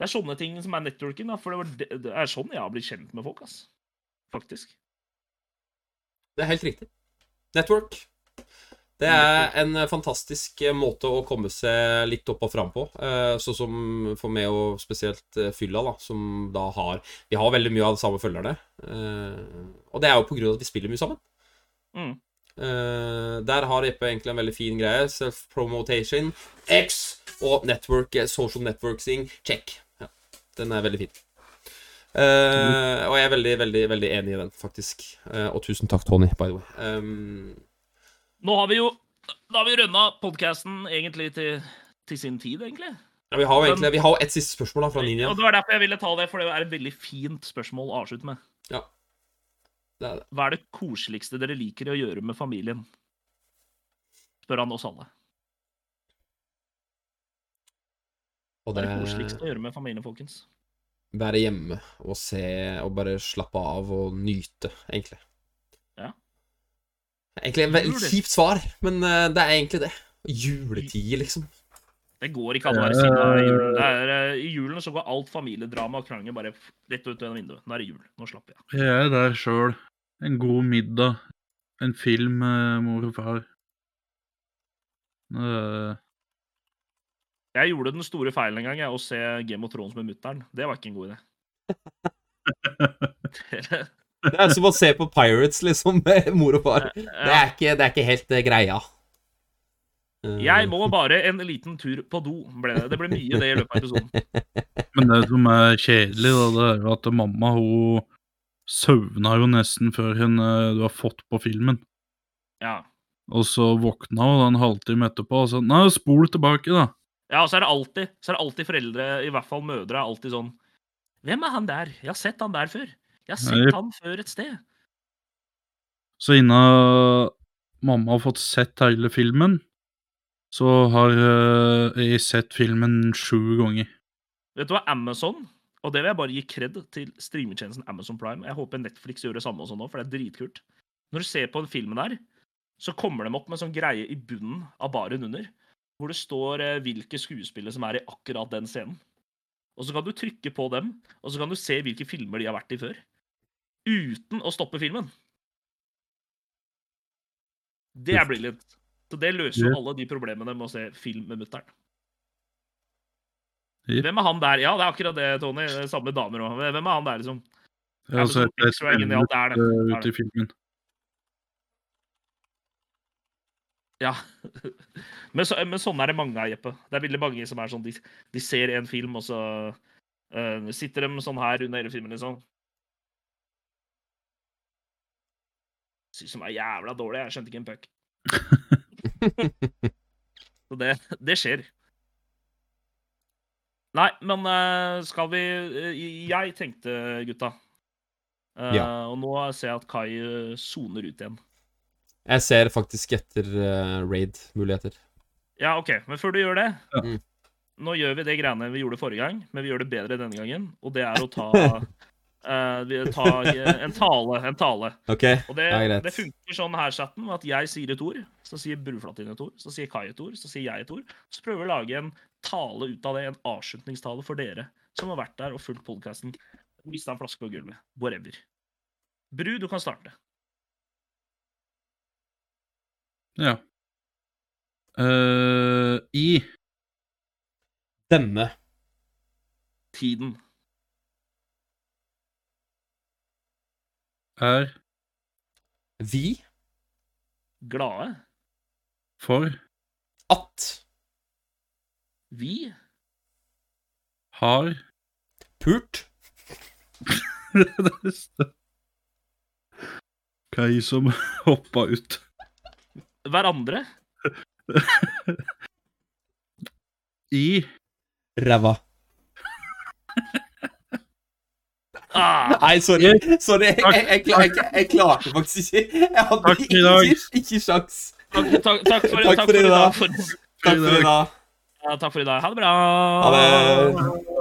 S2: det er sånne ting som er networking, da. For det, var, det, det er sånn jeg har blitt kjent med folk, ass. Faktisk.
S1: Det er helt riktig. Network. Det er en fantastisk eh, måte å komme seg litt opp og fram på. eh, Sånn som for meg og spesielt eh, Fylla, da, som da har Vi har veldig mye av de samme følgerne. eh, Og det er jo på grunn av at vi spiller mye sammen.
S2: Mm.
S1: Eh, der har Jeppe egentlig en veldig fin greie. Self-promotation, X og network, eh, social networking, check. Ja, den er veldig fin. Eh, og jeg er veldig, veldig veldig enig i den, faktisk. Eh, og tusen takk, Tony, by the way. Um,
S2: Nå har vi jo Da har vi rønna podkasten egentlig til, til sin tid, egentlig.
S1: ja, vi har jo egentlig Vi har jo et siste spørsmål da fra Ninja.
S2: Og Det var derfor jeg ville ta det, for det er et veldig fint spørsmål å avslutte med.
S1: Det er det.
S2: Hva er det koseligste dere liker å gjøre med familien? Spør han oss alle.
S1: Og det
S2: Hva er det koseligste å gjøre med familien, folkens?
S1: være hjemme og se og bare slappe av og nyte, egentlig.
S2: Ja.
S1: Egentlig et veldig
S2: Jul.
S1: kjipt svar, men eh, det er egentlig det. Juletid, liksom.
S2: Det går ikke an å være siden av julen. Det er, eh, I julen så går alt familiedrama og krangel bare f- rett ut gjennom vinduet. Nå er det jul. Nå slapper jeg av.
S3: Jeg er der sjøl. En god middag. en film med mor og far. Eh,
S2: Jeg gjorde den store feilen en gang, jeg, å se Game of Thrones med mutter'n. Det var ikke en god idé.
S1: Det er som å se på Pirates, liksom, med mor og far. Det
S2: Eh,
S1: er ikke, det er ikke helt eh, greia. Eh,
S2: Jeg må bare en liten tur på do, ble det. Det ble mye det i løpet
S1: Eh,
S2: av episoden.
S3: men det som er kjedelig, da, det er jo at mamma hun søvna jo nesten før hun, eh, du har fått på filmen.
S2: Ja.
S3: Og så våkna hun da en halvtime etterpå og sa nei, spol tilbake, da.
S2: ja, og så er det alltid så er det alltid foreldre, i hvert fall mødre, er alltid sånn Hvem er han der? Jeg har sett han der før. Jeg har
S3: Nei.
S2: sett han før et sted.
S3: Så innan mamma har fått sett hele filmen, så har eh, jeg sett filmen sju ganger.
S2: Vet du hva, Amazon Og det vil jeg bare gi kred til streamertjenesten Amazon Prime. Jeg håper Netflix gjør det samme også nå, for det er dritkult. Når du ser på den filmen der, så kommer de opp med en sånn greie i bunnen av baren under, hvor det står eh, hvilke skuespillere som er i akkurat den scenen. Og så kan du trykke på dem, og så kan du se hvilke filmer de har vært i før. Uten å stoppe filmen. Det er brilliant. Så det løser jo
S3: Ja.
S2: alle de problemene med å se film med mutter'n.
S3: Jepp.
S2: Hvem er han der? Ja, det er akkurat det, Tony. Det er Samme damer òg. Hvem er han der, liksom?
S3: Jeg har
S2: Amazon
S3: sett et
S2: Picture er genialt, det er det.
S3: minutt, altså, eh,
S2: Det er
S3: ute i filmen.
S2: Ja. Men, så, men sånn er det mange av, Jeppe. Det er veldig mange som er sånn De, de ser en film, og så eh, sitter de sånn her under hele filmen, liksom. Syns de er jævla dårlige. Jeg skjønte ikke en puck. så det, det skjer. Nei, men eh, skal vi eh, Jeg tenkte, gutta. Eh,
S1: Ja.
S2: Og nå ser jeg at Kai eh, soner ut igjen.
S1: Jeg ser faktisk etter eh, raid-muligheter.
S2: Ja, OK. Men før du gjør det
S3: Ja.
S1: Mm.
S2: Nå gjør vi det greiene vi gjorde forrige gang, men vi gjør det bedre denne gangen. Og det er å ta, eh, vi tar, eh, en tale. En tale.
S1: OK?
S2: Og det,
S1: Ja, greit.
S2: det funker sånn her, chatten, at jeg sier et ord, så sier Bruflatin et ord, så sier Kai et ord, så sier jeg et ord. Så prøver vi å lage en tale ut av det, en avslutningstale for dere som har vært der og fulgt podkasten. Mista en flaske på gulvet. Whatever. Bru, du kan starte.
S3: Ja. Eh, I
S1: Denne
S2: Tiden.
S3: er
S1: vi
S2: Glade.
S3: for
S1: at
S2: Vi.
S3: har
S1: pult
S3: Det står- Kai som hoppa ut.
S2: Hverandre.
S3: I
S1: ræva.
S2: Ah,
S1: Nei, sorry. sorry. Jeg,
S3: Takk.
S1: jeg, jeg, jeg, jeg klarte faktisk ikke. Jeg hadde
S3: Takk for i dag.
S1: ikke, ikke sjans.
S2: takk, takk, takk, for,
S1: Takk for i dag.
S2: For,
S1: Takk for i dag.
S2: Ja, takk for i dag. Ha det bra.
S1: Ha det.